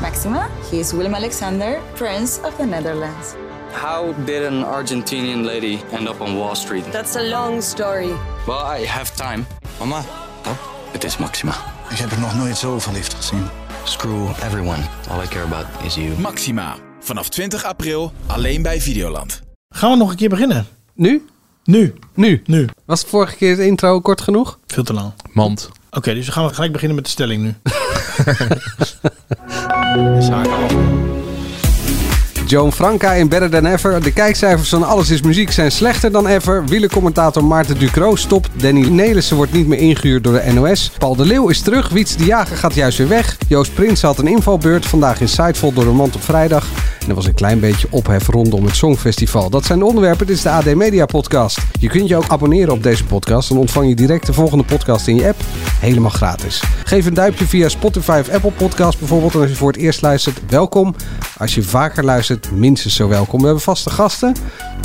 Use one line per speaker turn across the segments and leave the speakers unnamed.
Maxima. He is Willem Alexander, Prince of the Netherlands.
How did an Argentinian lady end up on Wall Street?
That's a long story.
Well, I have time.
Mama,
Het is Maxima.
Ik heb er nog nooit zo verliefd gezien.
Screw everyone. All I care about is you.
Maxima. Vanaf 20 april alleen bij Videoland.
Gaan we nog een keer beginnen?
Nu?
Nu.
Nu?
Nu.
Was het vorige keer het intro kort genoeg?
Veel te lang.
Mand.
Oké, dus we gaan gelijk beginnen met de stelling nu. Is haar al.
Joan Franca in Better Than Ever. De kijkcijfers van Alles is Muziek zijn slechter dan ever. Wielercommentator Maarten Ducro stopt. Danny Nelissen wordt niet meer ingehuurd door de NOS. Paul de Leeuw is terug. Wiets de Jager gaat juist weer weg. Joost Prins had een invalbeurt. Vandaag in Sidevol door de mand op vrijdag. En er was een klein beetje ophef rondom het Songfestival. Dat zijn de onderwerpen. Dit is de AD Media Podcast. Je kunt je ook abonneren op deze podcast. Dan ontvang je direct de volgende podcast in je app. Helemaal gratis. Geef een duimpje via Spotify of Apple Podcast bijvoorbeeld. En als je voor het eerst luistert, welkom. Als je vaker luistert, minstens zo welkom. We hebben vaste gasten.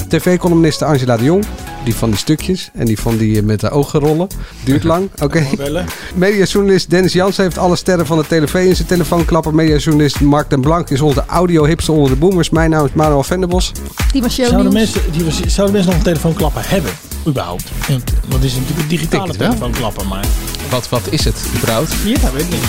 TV-columniste Angela de Jong. Die van die stukjes en die van die eh, met de ogen rollen. Duurt lang. Oké.
Bellen.
Mediajournalist Dennis Jansen heeft alle sterren van de TV in zijn telefoon klappen. Mediajournalist Mark den Blank is onze audio-hipster onder de boomers. Mijn naam is Manuel Venderbos.
Die was jouw
Zouden
nieuws.
mensen, die, was- zouden mensen nog een telefoonklappen hebben? Überhaupt. Want het is natuurlijk een digitale
het wel.
telefoonklappen, maar...
Wat, wat is het überhaupt?
Ja, weet ik niet.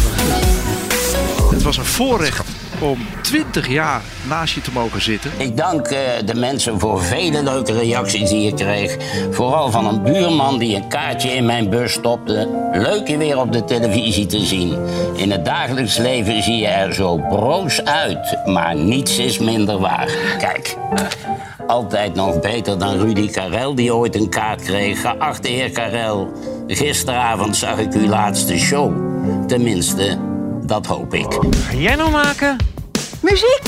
Het was een voorrecht om 20 jaar naast je te mogen zitten.
Ik dank eh, de mensen voor vele leuke reacties die ik kreeg. Vooral van een buurman die een kaartje in mijn bus stopte. Leuk je weer op de televisie te zien. In het dagelijks leven zie je er zo broos uit. Maar niets is minder waar. Kijk. Altijd nog beter dan Rudy Karel, die ooit een kaart kreeg. Geachte heer Karel, gisteravond zag ik uw laatste show. Tenminste, dat hoop ik.
Jij nou maken?
Muziek!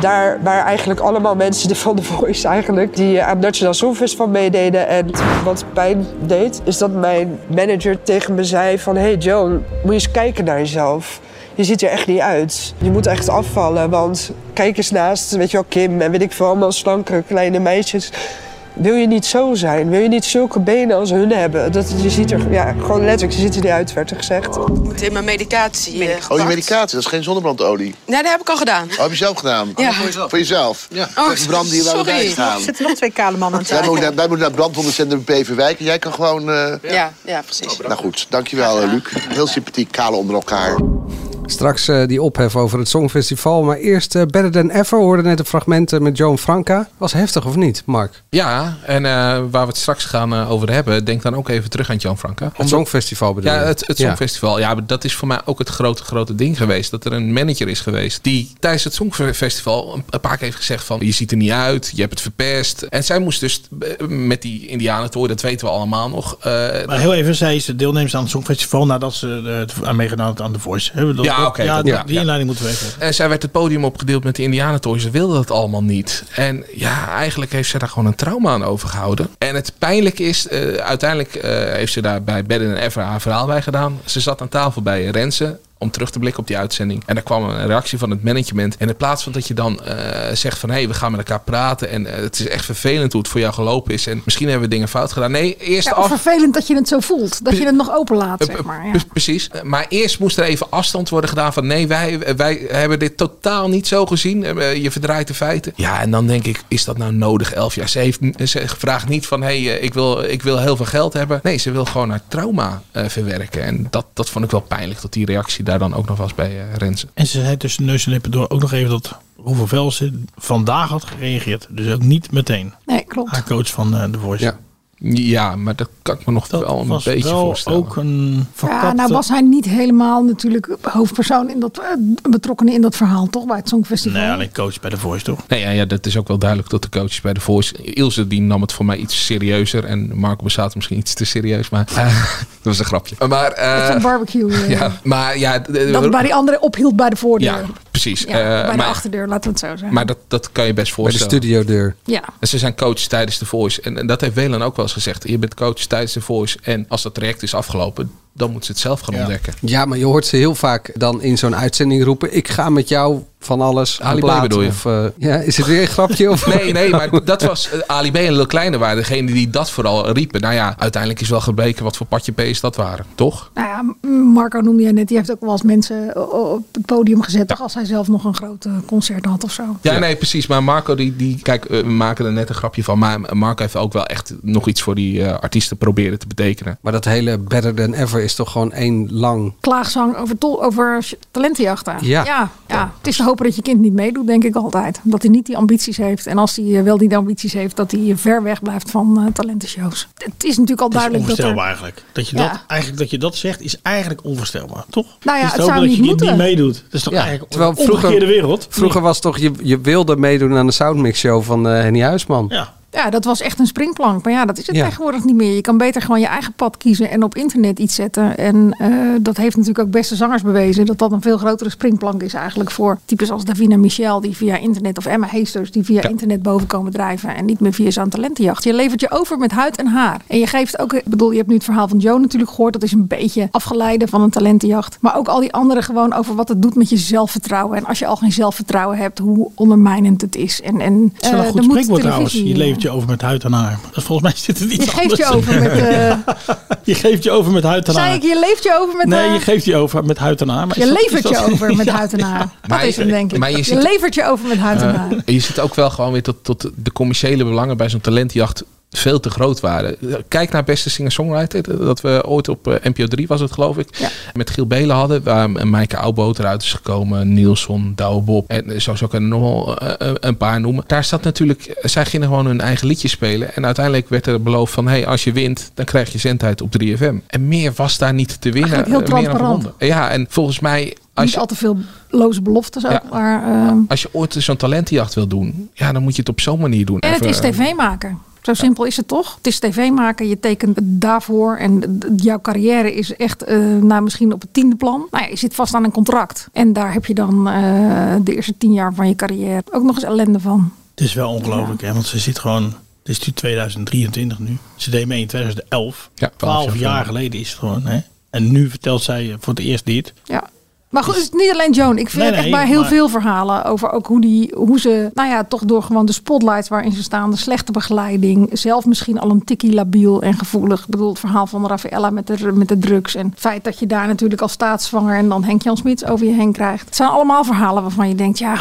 Daar waren eigenlijk allemaal mensen van The Voice eigenlijk... die eh, aan het National Songfestival meededen. En wat pijn deed, is dat mijn manager tegen me zei van... hey Joan, moet je eens kijken naar jezelf. Je ziet er echt niet uit. Je moet echt afvallen, want kijk eens naast, weet je wel, Kim... en weet ik veel, allemaal slankere kleine meisjes... Wil je niet zo zijn? Wil je niet zulke benen als hun hebben? Dat, je ziet er ja, gewoon letterlijk, je ziet er niet uit, werd er gezegd.
moet in mijn medicatie.
Oh, je medicatie, dat is geen zonnebrandolie.
Nee, dat heb ik al gedaan.
Oh, heb je zelf gedaan?
Ja. Oh,
Voor jezelf? Ja. Dat is brand die wel bij staan.
zitten nog twee kale mannen aan
Wij moeten, naar- wij moeten naar het brandwondencentrum Beverwijk en jij kan gewoon... eh,
Ja, ja, precies.
Nou goed, dankjewel eh, Luc. Heel sympathiek, kale onder elkaar.
Straks eh, die ophef over het Songfestival. Maar eerst eh, Better Than Ever. We hoorden net een fragment eh, met Joan Franca. Was heftig of niet, Mark?
Ja, en eh, waar we het straks gaan eh, over hebben, denk dan ook even terug aan Jan Franka.
Het Songfestival bedoel
Ja,
je?
het, het Songfestival. Ja. maar dat is voor mij ook het grote, grote ding geweest. Dat er een manager is geweest die tijdens het Songfestival een, een paar keer heeft gezegd van... je ziet er niet uit, je hebt het verpest. En zij moest dus eh, met die indianentooi, dat weten we allemaal nog... eh,
Maar heel even, zij is de deelnemster aan het Songfestival nadat ze eh, het aan meegedaan had aan The Voice. Hebben we dat-
Ja,
dat-
oké,
ja,
dat-
die-
ja,
die
ja.
inleiding moeten we even hebben.
En zij werd het podium opgedeeld met de Indianentooi. Ze wilde dat allemaal niet. En ja, eigenlijk heeft ze daar gewoon een trauma aan overgehouden. En het pijnlijke is, eh, uiteindelijk eh, heeft ze daar bij Bedden en Ever haar verhaal bij gedaan. Ze zat aan tafel bij Rensen om terug te blikken op die uitzending. En daar kwam een reactie van het management. En in plaats van dat je dan eh, zegt van... hé, hey, we gaan met elkaar praten en eh, het is echt vervelend hoe het voor jou gelopen is... en misschien hebben we dingen fout gedaan. Nee, eerst
Ja,
af...
vervelend dat je het zo voelt. Dat je het nog openlaat,
Eh,
zeg maar. Ja.
pre- Precies. Eh, Maar eerst moest er even afstand worden gedaan van nee, wij, wij hebben dit totaal niet zo gezien. Eh, Je verdraait de feiten. Ja, en dan denk ik, is dat nou nodig, elf jaar? Ze, heeft, ze vraagt niet van hé, hey, eh, ik, wil, ik wil heel veel geld hebben. Nee, ze wil gewoon haar trauma eh, verwerken. En dat, dat vond ik wel pijnlijk, dat die reactie daar dan ook nog was bij eh, Rensen.
En ze zei tussen neus en lippen door ook nog even dat hoeveel Velsen vandaag had gereageerd. Dus ook niet meteen.
Nee, klopt.
Haar coach van eh The Voice.
Ja.
Ja, maar dat kan ik me nog wel een
was
beetje
wel
voorstellen.
ook een verkapte...
Ja, nou was hij niet helemaal natuurlijk hoofdpersoon in dat, eh, betrokkenen in dat verhaal, toch? Bij het Songfestival.
Nee, alleen coach bij The Voice toch?
Nee, ja, ja, dat is ook wel duidelijk dat de coaches bij de Voice... Ilse die nam het voor mij iets serieuzer. En Marco Bassato misschien iets te serieus. Maar eh, dat was een grapje. Maar, eh,
Met zo'n barbecue. eh,
ja, maar ja... d-
Dat het bij die anderen ophield bij de voordeur.
ja, precies.
Ja,
Eh,
bij de
maar
achterdeur, laten we het zo zeggen.
maar dat, dat kan je
Bij
best
de
voorstellen.
studiodeur.
ja.
En ze zijn coach tijdens de Voice. En, en dat heeft Welan ook wel eens gezegd. Je bent coach tijdens de Voice. En als dat traject is afgelopen, dan moet ze het zelf gaan ontdekken.
Ja, maar je hoort ze heel vaak dan in zo'n uitzending roepen... ik ga met jou van alles.
Ali
een
B
plaat
bedoel je?
Of, eh, ja, is het weer een grapje? Of?
Nee, nee, maar dat was eh, Ali B en Lil Kleine waren degene die dat vooral riepen. Nou ja, uiteindelijk is wel gebleken wat voor patje P's dat waren, toch?
Nou ja, Marco noemde je net, die heeft ook wel eens mensen eh, o- op het podium gezet. toch, Als hij zelf nog een groot eh, concert had of zo.
Ja, nee, precies. Maar Marco, die, die kijk, eh, we maken er net een grapje van. Maar Marco heeft ook wel echt nog iets voor die eh, artiesten proberen te betekenen.
Maar dat hele Better Than Ever is toch gewoon één lang...
Klaagzang over, tol, over sh- talentenjachten.
Ja.
Ja, ja. Het is te hopen dat je kind niet meedoet, denk ik altijd. Dat hij niet die ambities heeft. En als hij eh, wel die ambities heeft, dat hij ver weg blijft van eh, talentenshows. Het is natuurlijk al
Dat is
duidelijk dat er...
onvoorstelbaar eigenlijk. Dat je,
Ja.
dat, eigenlijk. dat je dat zegt is eigenlijk onvoorstelbaar, toch?
Nou ja,
is te
het zou
hopen dat
niet
je
moeten.
niet meedoet. Dat is toch eigenlijk
terwijl
de omgekeerde wereld?
Vroeger was toch, je, je wilde meedoen aan de Soundmix Show van eh, Henny Huisman.
Ja.
Ja, dat was echt een springplank. Maar ja, dat is het
Ja.
tegenwoordig niet meer. Je kan beter gewoon je eigen pad kiezen en op internet iets zetten. En eh, dat heeft natuurlijk ook beste zangers bewezen. Dat dat een veel grotere springplank is eigenlijk voor types als Davina Michel. Die via internet of Emma Heesters die via internet boven komen drijven. En niet meer via zo'n talentenjacht. Je levert je over met huid en haar. En je geeft ook, ik bedoel, je hebt nu het verhaal van Joe natuurlijk gehoord. Dat is een beetje afgeleide van een talentenjacht. Maar ook al die anderen gewoon over wat het doet met je zelfvertrouwen. En als je al geen zelfvertrouwen hebt, hoe ondermijnend het is. En, en
Het is wel
eh,
een goed
er moet
spreekwoord trouwens.
televisie-
Je levert je over met huid en haar. Dus volgens mij zit het iets
Je geeft
anders Nou,
je
in.
over met. eh
Je geeft je over met huid en haar.
zei ik, je leeft je over met.
nee,
eh,
je geeft je over met huid en haar. Maar
je
is dat- is
levert
dat-
je over met
Ja.
huid en haar. Dat
Maar
is
je-
hem, denk ik.
maar je
je,
ziet-
levert je over met huid en haar.
Eh, je ziet ook wel gewoon weer tot, tot de commerciële belangen bij zo'n talentjacht veel te groot waren. Kijk naar Beste Singer-Songwriter. Dat we ooit op eh, NPO 3 was het geloof ik. Met Giel Belen hadden. Waar eh, Maaike Oudboot eruit is gekomen. Nielsen, Douwe Bob. En eh, zo zou ik er nog wel, eh, eh, een paar noemen. Daar staat natuurlijk... eh, Zij gingen gewoon hun eigen liedjes spelen. En uiteindelijk werd er beloofd van... Hey, als je wint, dan krijg je zendtijd op 3FM. En meer was daar niet te winnen.
Eigenlijk heel
eh, meer aan
transparant.
verbonden. Ja, en volgens mij... Als
Niet
je,
al te veel loze beloftes ook.
Ja.
Maar, eh,
als je ooit zo'n talentenjacht wil doen, ja, dan moet je het op zo'n manier doen.
en het
Even- eh,
is tv maken. Zo simpel is het toch? Het is tv maken, je tekent het daarvoor en d- jouw carrière is echt eh, nou, misschien op het tiende plan. Nou ja, je zit vast aan een contract. En daar heb je dan eh, de eerste tien jaar van je carrière ook nog eens ellende van.
Het is wel ongelooflijk, hè? Want ze zit gewoon. Het is nu 2023 nu. Ze deed mee in 2011.
Ja,
12
12
jaar,
jaar
geleden is het gewoon, hè? En nu vertelt zij eh, voor het eerst dit.
Ja. Maar goed, het is niet alleen Joan. Ik vind
Nee,
het echt
nee,
bij heel
maar-
veel verhalen over ook hoe, die, hoe ze, nou ja, toch door gewoon de spotlight waarin ze staan, de slechte begeleiding, zelf misschien al een tikkie labiel en gevoelig. Ik bedoel, het verhaal van Raffaella met de, met de drugs en het feit dat je daar natuurlijk als staatsvanger en dan Henk-Jan Smits over je heen krijgt. Het zijn allemaal verhalen waarvan je denkt, ja,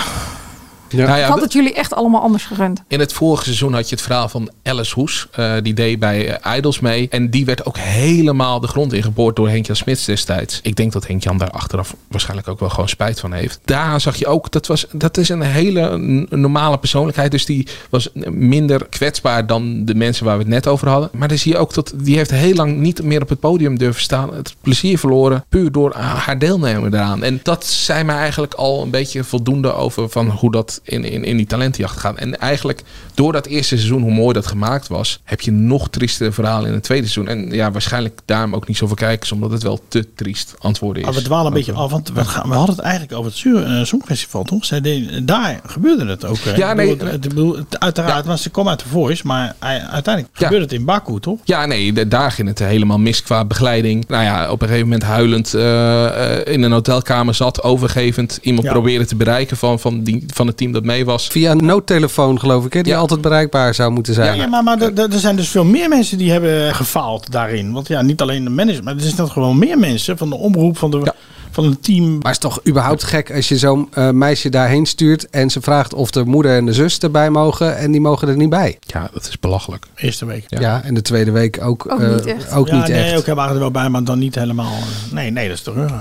Nou
ik
ja,
had het jullie echt allemaal anders gegund.
in het vorige seizoen had je het verhaal van Alice Hoes. eh, die deed bij eh, Idols mee. En die werd ook helemaal de grond ingeboord door Henk-Jan Smits destijds. Ik denk dat Henk-Jan daar achteraf waarschijnlijk ook wel gewoon spijt van heeft. Daar zag je ook, dat, was, dat is een hele n- normale persoonlijkheid. Dus die was minder kwetsbaar dan de mensen waar we het net over hadden. Maar dan zie je ook dat die heeft heel lang niet meer op het podium durven staan. Het plezier verloren, puur door haar deelnemen daaraan. En dat zei mij eigenlijk al een beetje voldoende over van hoe dat in, in, in die talentenjacht gaat. En eigenlijk door dat eerste seizoen, hoe mooi dat gemaakt was, heb je nog triestere verhalen in het tweede seizoen. En ja, waarschijnlijk daarom ook niet zoveel kijkers, omdat het wel te triest antwoorden is.
Maar ah, we dwalen een beetje af, want we, gaan, we hadden het eigenlijk over het Sur- eh, Songfestival, toch? Zij deed- daar gebeurde het ook. hè?
Ja,
Ik
nee,
bedoel, het- ik bedoel, het- uiteraard, want ze kwam uit de Voice, maar eh, uiteindelijk gebeurde het in Baku, toch?
Ja, nee, d- daar ging het helemaal mis qua begeleiding. Nou ja, op een gegeven moment huilend eh, eh, in een hotelkamer zat, overgevend. Iemand
Ja.
proberen te bereiken van, van, die, van het team dat mee was.
Via een noodtelefoon geloof ik, hè, die altijd bereikbaar zou moeten
Ja,
zijn.
ja, maar, maar er- er er zijn dus veel meer mensen die hebben gefaald daarin. Want ja, niet alleen de manager, maar er zijn toch gewoon meer mensen van de omroep, van, de, van het team.
Maar het is toch überhaupt gek als je zo'n eh, meisje daarheen stuurt en ze vraagt of de moeder en de zus erbij mogen en die mogen er niet bij.
Ja, dat is belachelijk.
Eerste week.
Ja, en de tweede week ook,
Ook
eh,
niet echt.
Ook
ja,
niet
nee,
echt.
oké, waren er wel bij, maar dan niet helemaal. eh, Nee, nee, dat is toch erg.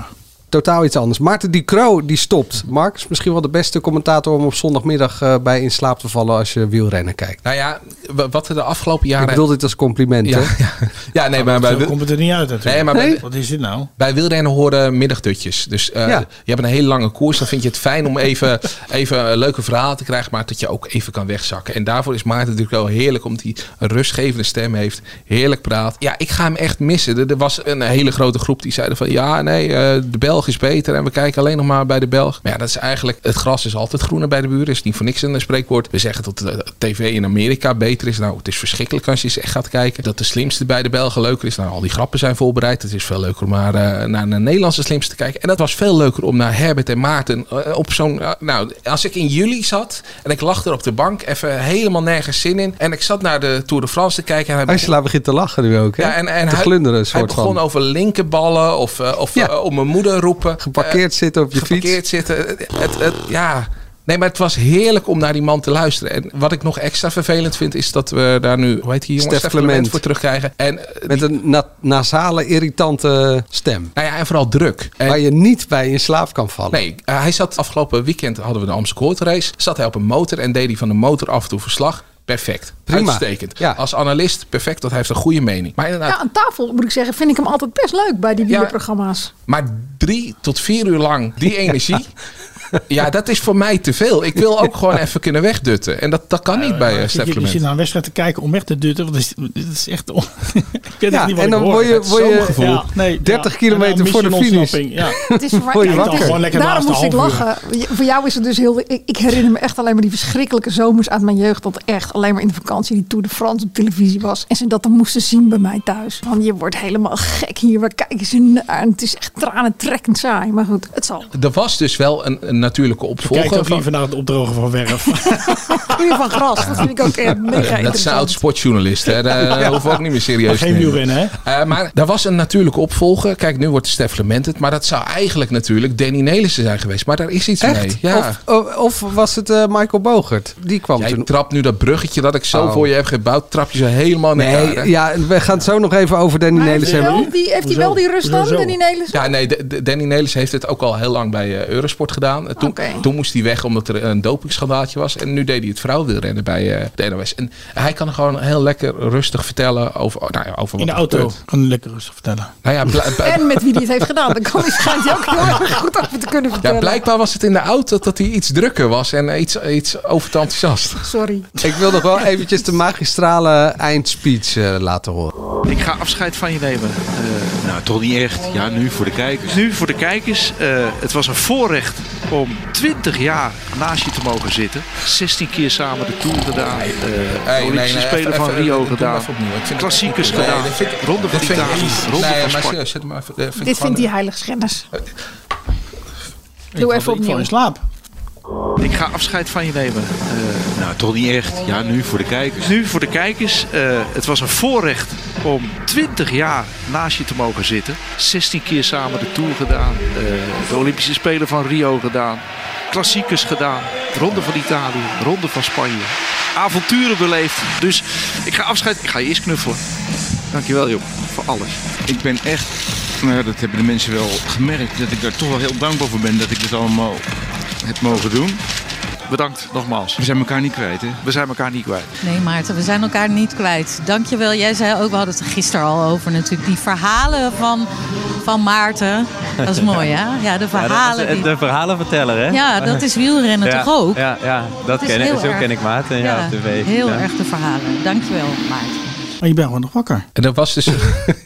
Totaal iets anders. Maarten Ducro die stopt. Mark is misschien wel de beste commentator om op zondagmiddag eh, bij in slaap te vallen als je wielrennen kijkt.
Nou ja, w- wat er de afgelopen jaren...
Ik bedoel dit als compliment,
Ja,
hè?
ja. ja, nee, maar bij,
Zo komt het er niet uit natuurlijk.
Nee, maar bij-
Wat is dit nou?
bij wielrennen horen middagdutjes. Dus eh,
Ja.
je hebt een hele lange koers. Dan vind je het fijn om even, even een leuke verhalen te krijgen. Maar dat je ook even kan wegzakken. En daarvoor is Maarten natuurlijk wel heerlijk. Omdat hij een rustgevende stem heeft. Heerlijk praat. Ja, ik ga hem echt missen. Er, er was een hele grote groep die zeiden van... Ja, nee, eh, de Belg Belg is beter en we kijken alleen nog maar bij de Belg. Maar ja, dat is eigenlijk, het gras is altijd groener bij de buren. Is niet voor niks een spreekwoord. We zeggen dat de tv in Amerika beter is. Nou, het is verschrikkelijk als je eens echt gaat kijken. Dat de slimste bij de Belgen leuker is. Nou, al die grappen zijn voorbereid. Het is veel leuker om maar eh, naar een Nederlandse slimste te kijken. En dat was veel leuker om naar Herbert en Maarten eh, op zo'n... eh, nou, als ik in juli zat en ik lag er op de bank, even helemaal nergens zin in. En ik zat naar de Tour de France te kijken. En hij
Huiselaar begint te lachen nu ook, hè?
ja, en, en
te
hij,
glunderen, een
hij
soort
begon
van.
over linkerballen of, eh, of eh, om mijn moeder roepen. Eh,
Geparkeerd zitten op je fiets.
Geparkeerd zitten. Het, het, ja. Nee, maar het was heerlijk om naar die man te luisteren. En wat ik nog extra vervelend vind, is dat we daar nu, hoe heet die jongen?
Stef Clement.
voor terugkrijgen. En, eh,
Met een na- nasale, irritante stem.
nou ja, en vooral druk. En-
Waar je niet bij in slaap kan vallen.
Nee, eh, hij zat afgelopen weekend, hadden we de Amstel Gold Race. Zat hij op een motor en deed hij van de motor af en toe verslag. Perfect.
Prima.
Uitstekend.
Ja.
Als analist, perfect. Dat hij heeft een goede mening. Maar inderdaad,
Ja, aan tafel moet ik zeggen, vind ik hem altijd best leuk bij die wielerprogramma's.
Maar drie tot vier uur lang die energie. Ja. dat is voor mij te veel. Ik wil ook gewoon even kunnen wegdutten. En dat, dat kan niet bij eh,
Je, je
Stef
zit
Clement.
naar een wedstrijd te kijken om weg te dutten. Want het is, het is echt. On... ik weet
Ja,
echt niet wat ik
en dan
hoor.
word je,
Het is
word
zo'n
je
gevoel. Ja, nee,
30
ja. En
kilometer
dan
voor de
mission
finish.
ontsnapping, Ja.
Het is voor
Word je
ja,
wakker?
Gewoon lekker
Daarom
naast
moest
de
ik
half uur.
lachen. Je- Voor jou is het dus heel. Ik, ik herinner me echt alleen maar die verschrikkelijke zomers uit mijn jeugd. Dat echt alleen maar in de vakantie die Tour de France op televisie was. En ze dat dan moesten zien bij mij thuis. Van je wordt helemaal gek hier. Waar kijken ze naar? En het is echt tranentrekkend saai. Maar goed, het zal.
Er was dus wel een, een natuurlijke
Kijk
opvolger.
ook
Van,
liever naar het opdrogen van werf.
Goeie van gras. Dat vind ik ook echt mega
Eh, dat is een
interessant.
oud sportjournalist. Hè. Daar eh, hoeven we ook niet meer serieus
Maar
te
geen
nemen.
wielrennen, hè?
Eh, maar er was een natuurlijke opvolger. Kijk, nu wordt Stef Clement het. Maar dat zou eigenlijk natuurlijk Danny Nelissen zijn geweest. Maar daar is iets mee.
Echt?
Ja.
Of, oh, of, of was het eh, Michael Bogert? Die kwam
Jij
toen.
trapt nu dat bruggetje dat ik zo
Oh.
voor je heb gebouwd. Trap je ze helemaal naar
Nee,
elkaar, hè?
ja, we gaan het zo nog even over Danny
Maar heeft
Nelissen
hij
hebben.
wel die- heeft hij wel die rust dan,
Hoezo?
Danny Nelissen?
Ja, nee, de- de- Danny Nelis heeft het ook al heel lang bij eh, Eurosport gedaan. Eh, Toen,
Oké.
toen moest hij weg omdat er een dopingschandaaltje was. En nu deed hij het vrouwenwielrennen bij eh, de NOS. En hij kan gewoon heel lekker rustig vertellen over, nou ja, over wat
In de
er
auto.
gebeurt.
Kan lekker rustig vertellen.
Nou ja, bl- bl-
En met wie die het heeft gedaan. Dan kan hij schijnt hij ook heel erg goed over te kunnen
ja,
vertellen.
blijkbaar was het in de auto dat hij iets drukker was en eh, iets, iets over te enthousiast.
Sorry.
Ik wil nog wel eventjes de magistrale eindspeech eh, laten horen.
Ik ga afscheid van je nemen. nou, toch niet echt. Ja, nu voor de kijkers. Nu voor de kijkers. Eh, het was een voorrecht om 20 jaar naast je te mogen zitten. 16 keer samen de Tour gedaan. eh de Olympische Spelen van Rio gedaan. Klassiekers gedaan. Ronde van Italië. Ronde
Nee,
van
maar
Spanje.
serieus, zet hem even. eh, vind
Dit
ik gewoon-
vindt hij heiligschennis.
Ik val-
Doe even
ik val
opnieuw.
in slaap.
Ik ga afscheid van je nemen. nou, toch niet echt. Ja, nu voor de kijkers. Nu voor de kijkers. Eh, het was een voorrecht om 20 jaar naast je te mogen zitten. 16 keer samen de Tour gedaan. eh, de Olympische Spelen van Rio gedaan. Klassiekers gedaan. Ronde van Italië. Ronde van Spanje. Avonturen beleefd. Dus ik ga afscheid. Ik ga je eerst knuffelen. Dankjewel, joh. Voor alles.
Ik ben echt, nou ja, dat hebben de mensen wel gemerkt, dat ik daar toch wel heel dankbaar voor ben dat ik dit allemaal heb mogen doen.
Bedankt nogmaals.
We zijn elkaar niet kwijt, hè?
We zijn elkaar niet kwijt.
Nee, Maarten, we zijn elkaar niet kwijt. Dankjewel. Jij zei ook, we hadden het er gisteren al over natuurlijk. Die verhalen van, van Maarten. Dat is mooi, hè? Ja, de verhalen. die-
De verhalenverteller, hè?
Ja, dat is wielrennen
Ja,
toch ook?
Ja, ja dat
Het is
ken ik,
heel
zo
erg-
ken ik Maarten ja, op tv.
Heel
Ja.
erg de verhalen. Dankjewel, Maarten.
Maar je bent gewoon nog wakker.
En dat was dus.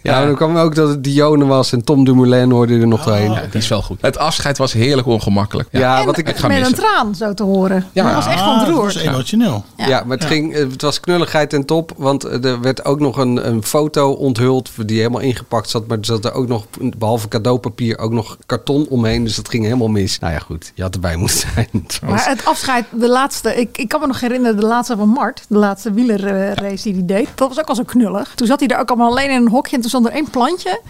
Ja, maar dan kwam ook dat het Dione was en Tom Dumoulin hoorde er nog doorheen.
Ja, die is wel goed. Het afscheid was heerlijk ongemakkelijk.
Ja,
En
wat ik,
Ik ga
met een
missen.
traan zo te horen. Ja.
Ja.
Dat was echt
Ah, dat
ontroerd.
was emotioneel.
ja. maar het, ging, eh, het was knulligheid en top. Want eh, er werd ook nog een, een foto onthuld die helemaal ingepakt zat. Maar er zat er ook nog, behalve cadeaupapier, ook nog karton omheen. Dus dat ging helemaal mis. Nou ja, goed. Je had erbij moeten zijn.
Maar het afscheid, de laatste, ik, ik kan me nog herinneren, de laatste van Mart, de laatste wielerrace die hij deed. Dat was ook al zo knullig. Toen zat hij daar ook allemaal alleen in een hokje en toen stond er één plantje.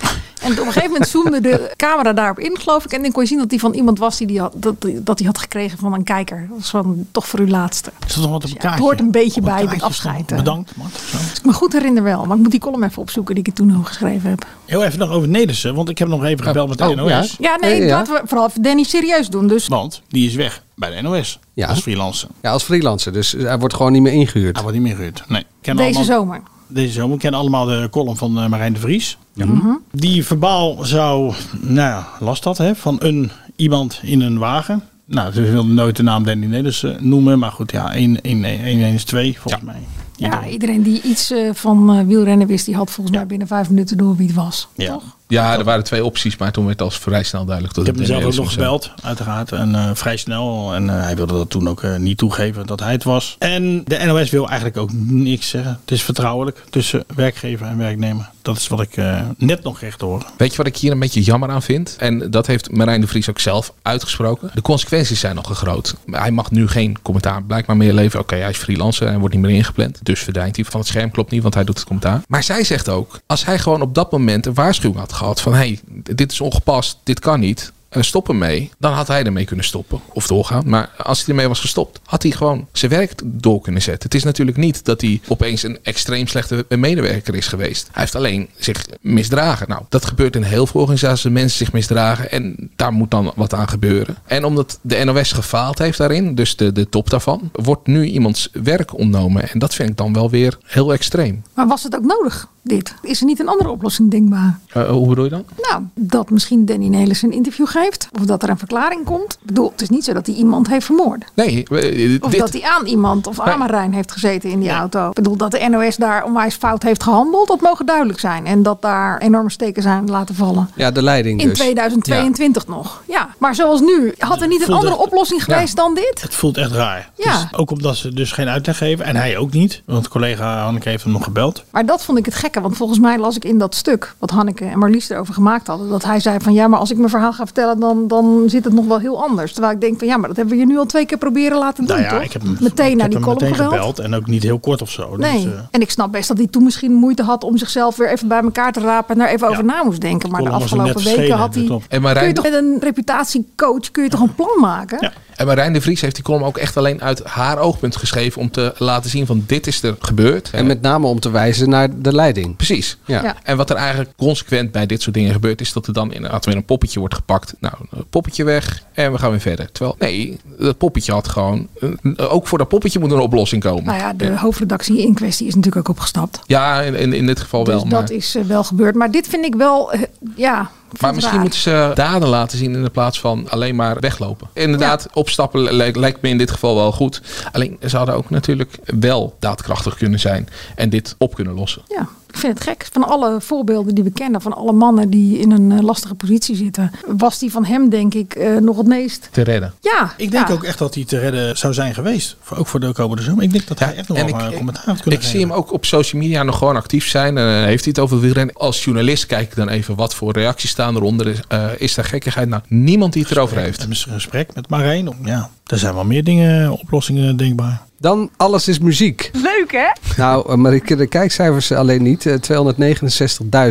En op een gegeven moment zoomde de camera daarop in, geloof ik. En dan kon je zien dat die van iemand was die, die had, dat, dat die had gekregen van een kijker. Dat was van, toch voor uw laatste.
Er zat nog wat op een
Ja, het
kaartje.
hoort een beetje
Op
bij bij het
kaartje
afscheid.
stond,
eh.
Bedankt, man. of zo.
Als ik me goed herinner wel, maar ik moet die column even opzoeken die ik toen nog geschreven heb.
Heel even nog over Nedersen, want ik heb nog even gebeld met de
Oh,
NOS.
ja.
Ja, nee,
Eh, ja.
laten we vooral even Danny serieus doen. Dus
Want die is weg bij de NOS.
Ja.
Als freelancer.
Ja, als freelancer. Dus hij wordt gewoon niet meer ingehuurd.
Hij wordt niet meer gehuurd. Nee. Kennen
deze
allemaal-
zomer.
Deze zomer. We kennen allemaal de column van eh, Marijn de Vries.
Mhm.
Die verbaal zou, nou ja, last had hè, van een iemand in een wagen. Nou, ze wilde nooit de naam Danny Nelis eh, noemen. Maar goed, ja, 1 is 2 volgens mij.
Ja, iedereen die iets eh, van eh, wielrennen wist, die had volgens mij binnen vijf minuten door wie het was.
Ja.
Toch?
Ja, er waren twee opties, maar toen werd als vrij snel duidelijk dat
Ik heb
het
mezelf ook
Nelis
nog
was.
gebeld, uiteraard. En eh, vrij snel. En eh, hij wilde dat toen ook eh, niet toegeven dat hij het was. En de NOS wil eigenlijk ook niks zeggen. Het is vertrouwelijk tussen werkgever en werknemer. Dat is wat ik eh, net nog kreeg te horen.
Weet je wat ik hier een beetje jammer aan vind? En dat heeft Marijn de Vries ook zelf uitgesproken. De consequenties zijn nog groot. Hij mag nu geen commentaar blijkbaar meer leveren. Oké, hij is freelancer en wordt niet meer ingepland. Dus verdwijnt hij van het scherm. Klopt niet, want hij doet het commentaar. Maar zij zegt ook, als hij gewoon op dat moment een waarschuwing had gehad van... hey, dit is ongepast, dit kan niet. eh, Stop ermee. Dan had hij ermee kunnen stoppen. Of doorgaan. Maar als hij ermee was gestopt, had hij gewoon zijn werk door kunnen zetten. Het is natuurlijk niet dat hij opeens een extreem slechte medewerker is geweest. Hij heeft alleen zich misdragen. Nou, dat gebeurt in heel veel organisaties. dat Mensen zich misdragen en daar moet dan wat aan gebeuren. En omdat de NOS gefaald heeft daarin, dus de, de top daarvan, wordt nu iemands werk ontnomen. En dat vind ik dan wel weer heel extreem.
Maar was het ook nodig, dit? Is er niet een andere oplossing denkbaar?
Eh, hoe bedoel je dan?
Nou, dat misschien Danny Nelis een interview geeft. Of dat er een verklaring komt. Ik bedoel, het is niet zo dat hij iemand heeft vermoord.
Nee, eh,
Of
dit-
dat hij aan iemand of aan
Nee.
Marijn heeft gezeten in die auto. Ik bedoel, dat de NOS daar onwijs fout heeft gehandeld. Dat mogen duidelijk zijn. En dat daar enorme steken zijn laten vallen.
Ja, de leiding
In
dus.
2022 nog. Ja, maar zoals nu. Had er niet een
Voelt
andere
het-
oplossing
Ja.
geweest dan dit?
Het voelt echt raar.
Ja.
Dus ook omdat ze dus geen uitleg geven. En hij ook niet. Want collega Hanneke heeft hem nog gebeld.
Maar dat vond ik het gekke, want volgens mij las ik in dat stuk wat Hanneke en Marlies erover gemaakt hadden. Dat hij zei van ja, maar als ik mijn verhaal ga vertellen, dan, dan zit het nog wel heel anders. Terwijl ik denk van ja, maar dat hebben we je nu al twee keer proberen laten doen,
Nou ja,
toch?
ik heb hem
meteen
ik
naar
heb
die
hem
column
meteen
gebeld.
gebeld. En ook niet heel kort of zo. Dus,
Nee,
eh,
en ik snap best dat hij toen misschien moeite had om zichzelf weer even bij elkaar te rapen en er even
Ja.
over na moest denken. Maar de
column was hem
afgelopen
net
weken
verschenen,
had hij.
dat klopt. En Marijn-
Kun je toch met een reputatiecoach kun je toch een plan maken?
En Marijn de Vries heeft die column ook echt alleen uit haar oogpunt geschreven om te laten zien van dit is er gebeurd.
En met name om te wijzen naar de leiding.
Precies.
Ja.
Ja.
En wat er eigenlijk consequent bij dit soort dingen gebeurt, is dat er dan inderdaad weer een poppetje wordt gepakt. Nou, een poppetje weg en we gaan weer verder. Terwijl, nee, dat poppetje had gewoon. eh, Ook voor dat poppetje moet er een oplossing komen.
Nou ja, de hoofdredactie in kwestie is natuurlijk ook opgestapt.
Ja, in, in, in dit geval wel.
dus
maar...
dat is eh, wel gebeurd. Maar dit vind ik wel, eh, ja. ik vind
Maar
het
misschien
raar.
moeten ze daden laten zien in de plaats van alleen maar weglopen. Inderdaad, opstappen li- lijkt, lijkt me in dit geval wel goed. Alleen ze hadden ook natuurlijk wel daadkrachtig kunnen zijn en dit op kunnen lossen.
Ja, ik vind het gek. Van alle voorbeelden die we kennen, van alle mannen die in een eh, lastige positie zitten, was die van hem denk ik eh, nog het meest.
Te redden.
Ja,
Ik denk
ja.
ook echt dat hij te redden zou zijn geweest. Voor- Ook voor de komende zomer. Ik denk dat hij echt nog wel een commentaar heeft kunnen
Ik zie hem ook op social media nog gewoon actief zijn. Eh, heeft hij het over wielrennen? Als journalist kijk ik dan even wat voor reacties staan eronder. Is, eh, is daar gekkigheid? Nou, niemand die het erover heeft.
Een gesprek met Marijn. om- Ja, er zijn wel meer dingen, oplossingen denkbaar.
Dan Alles is muziek.
Leuk hè?
Nou, eh, maar ik- de kijkcijfers alleen niet. Eh,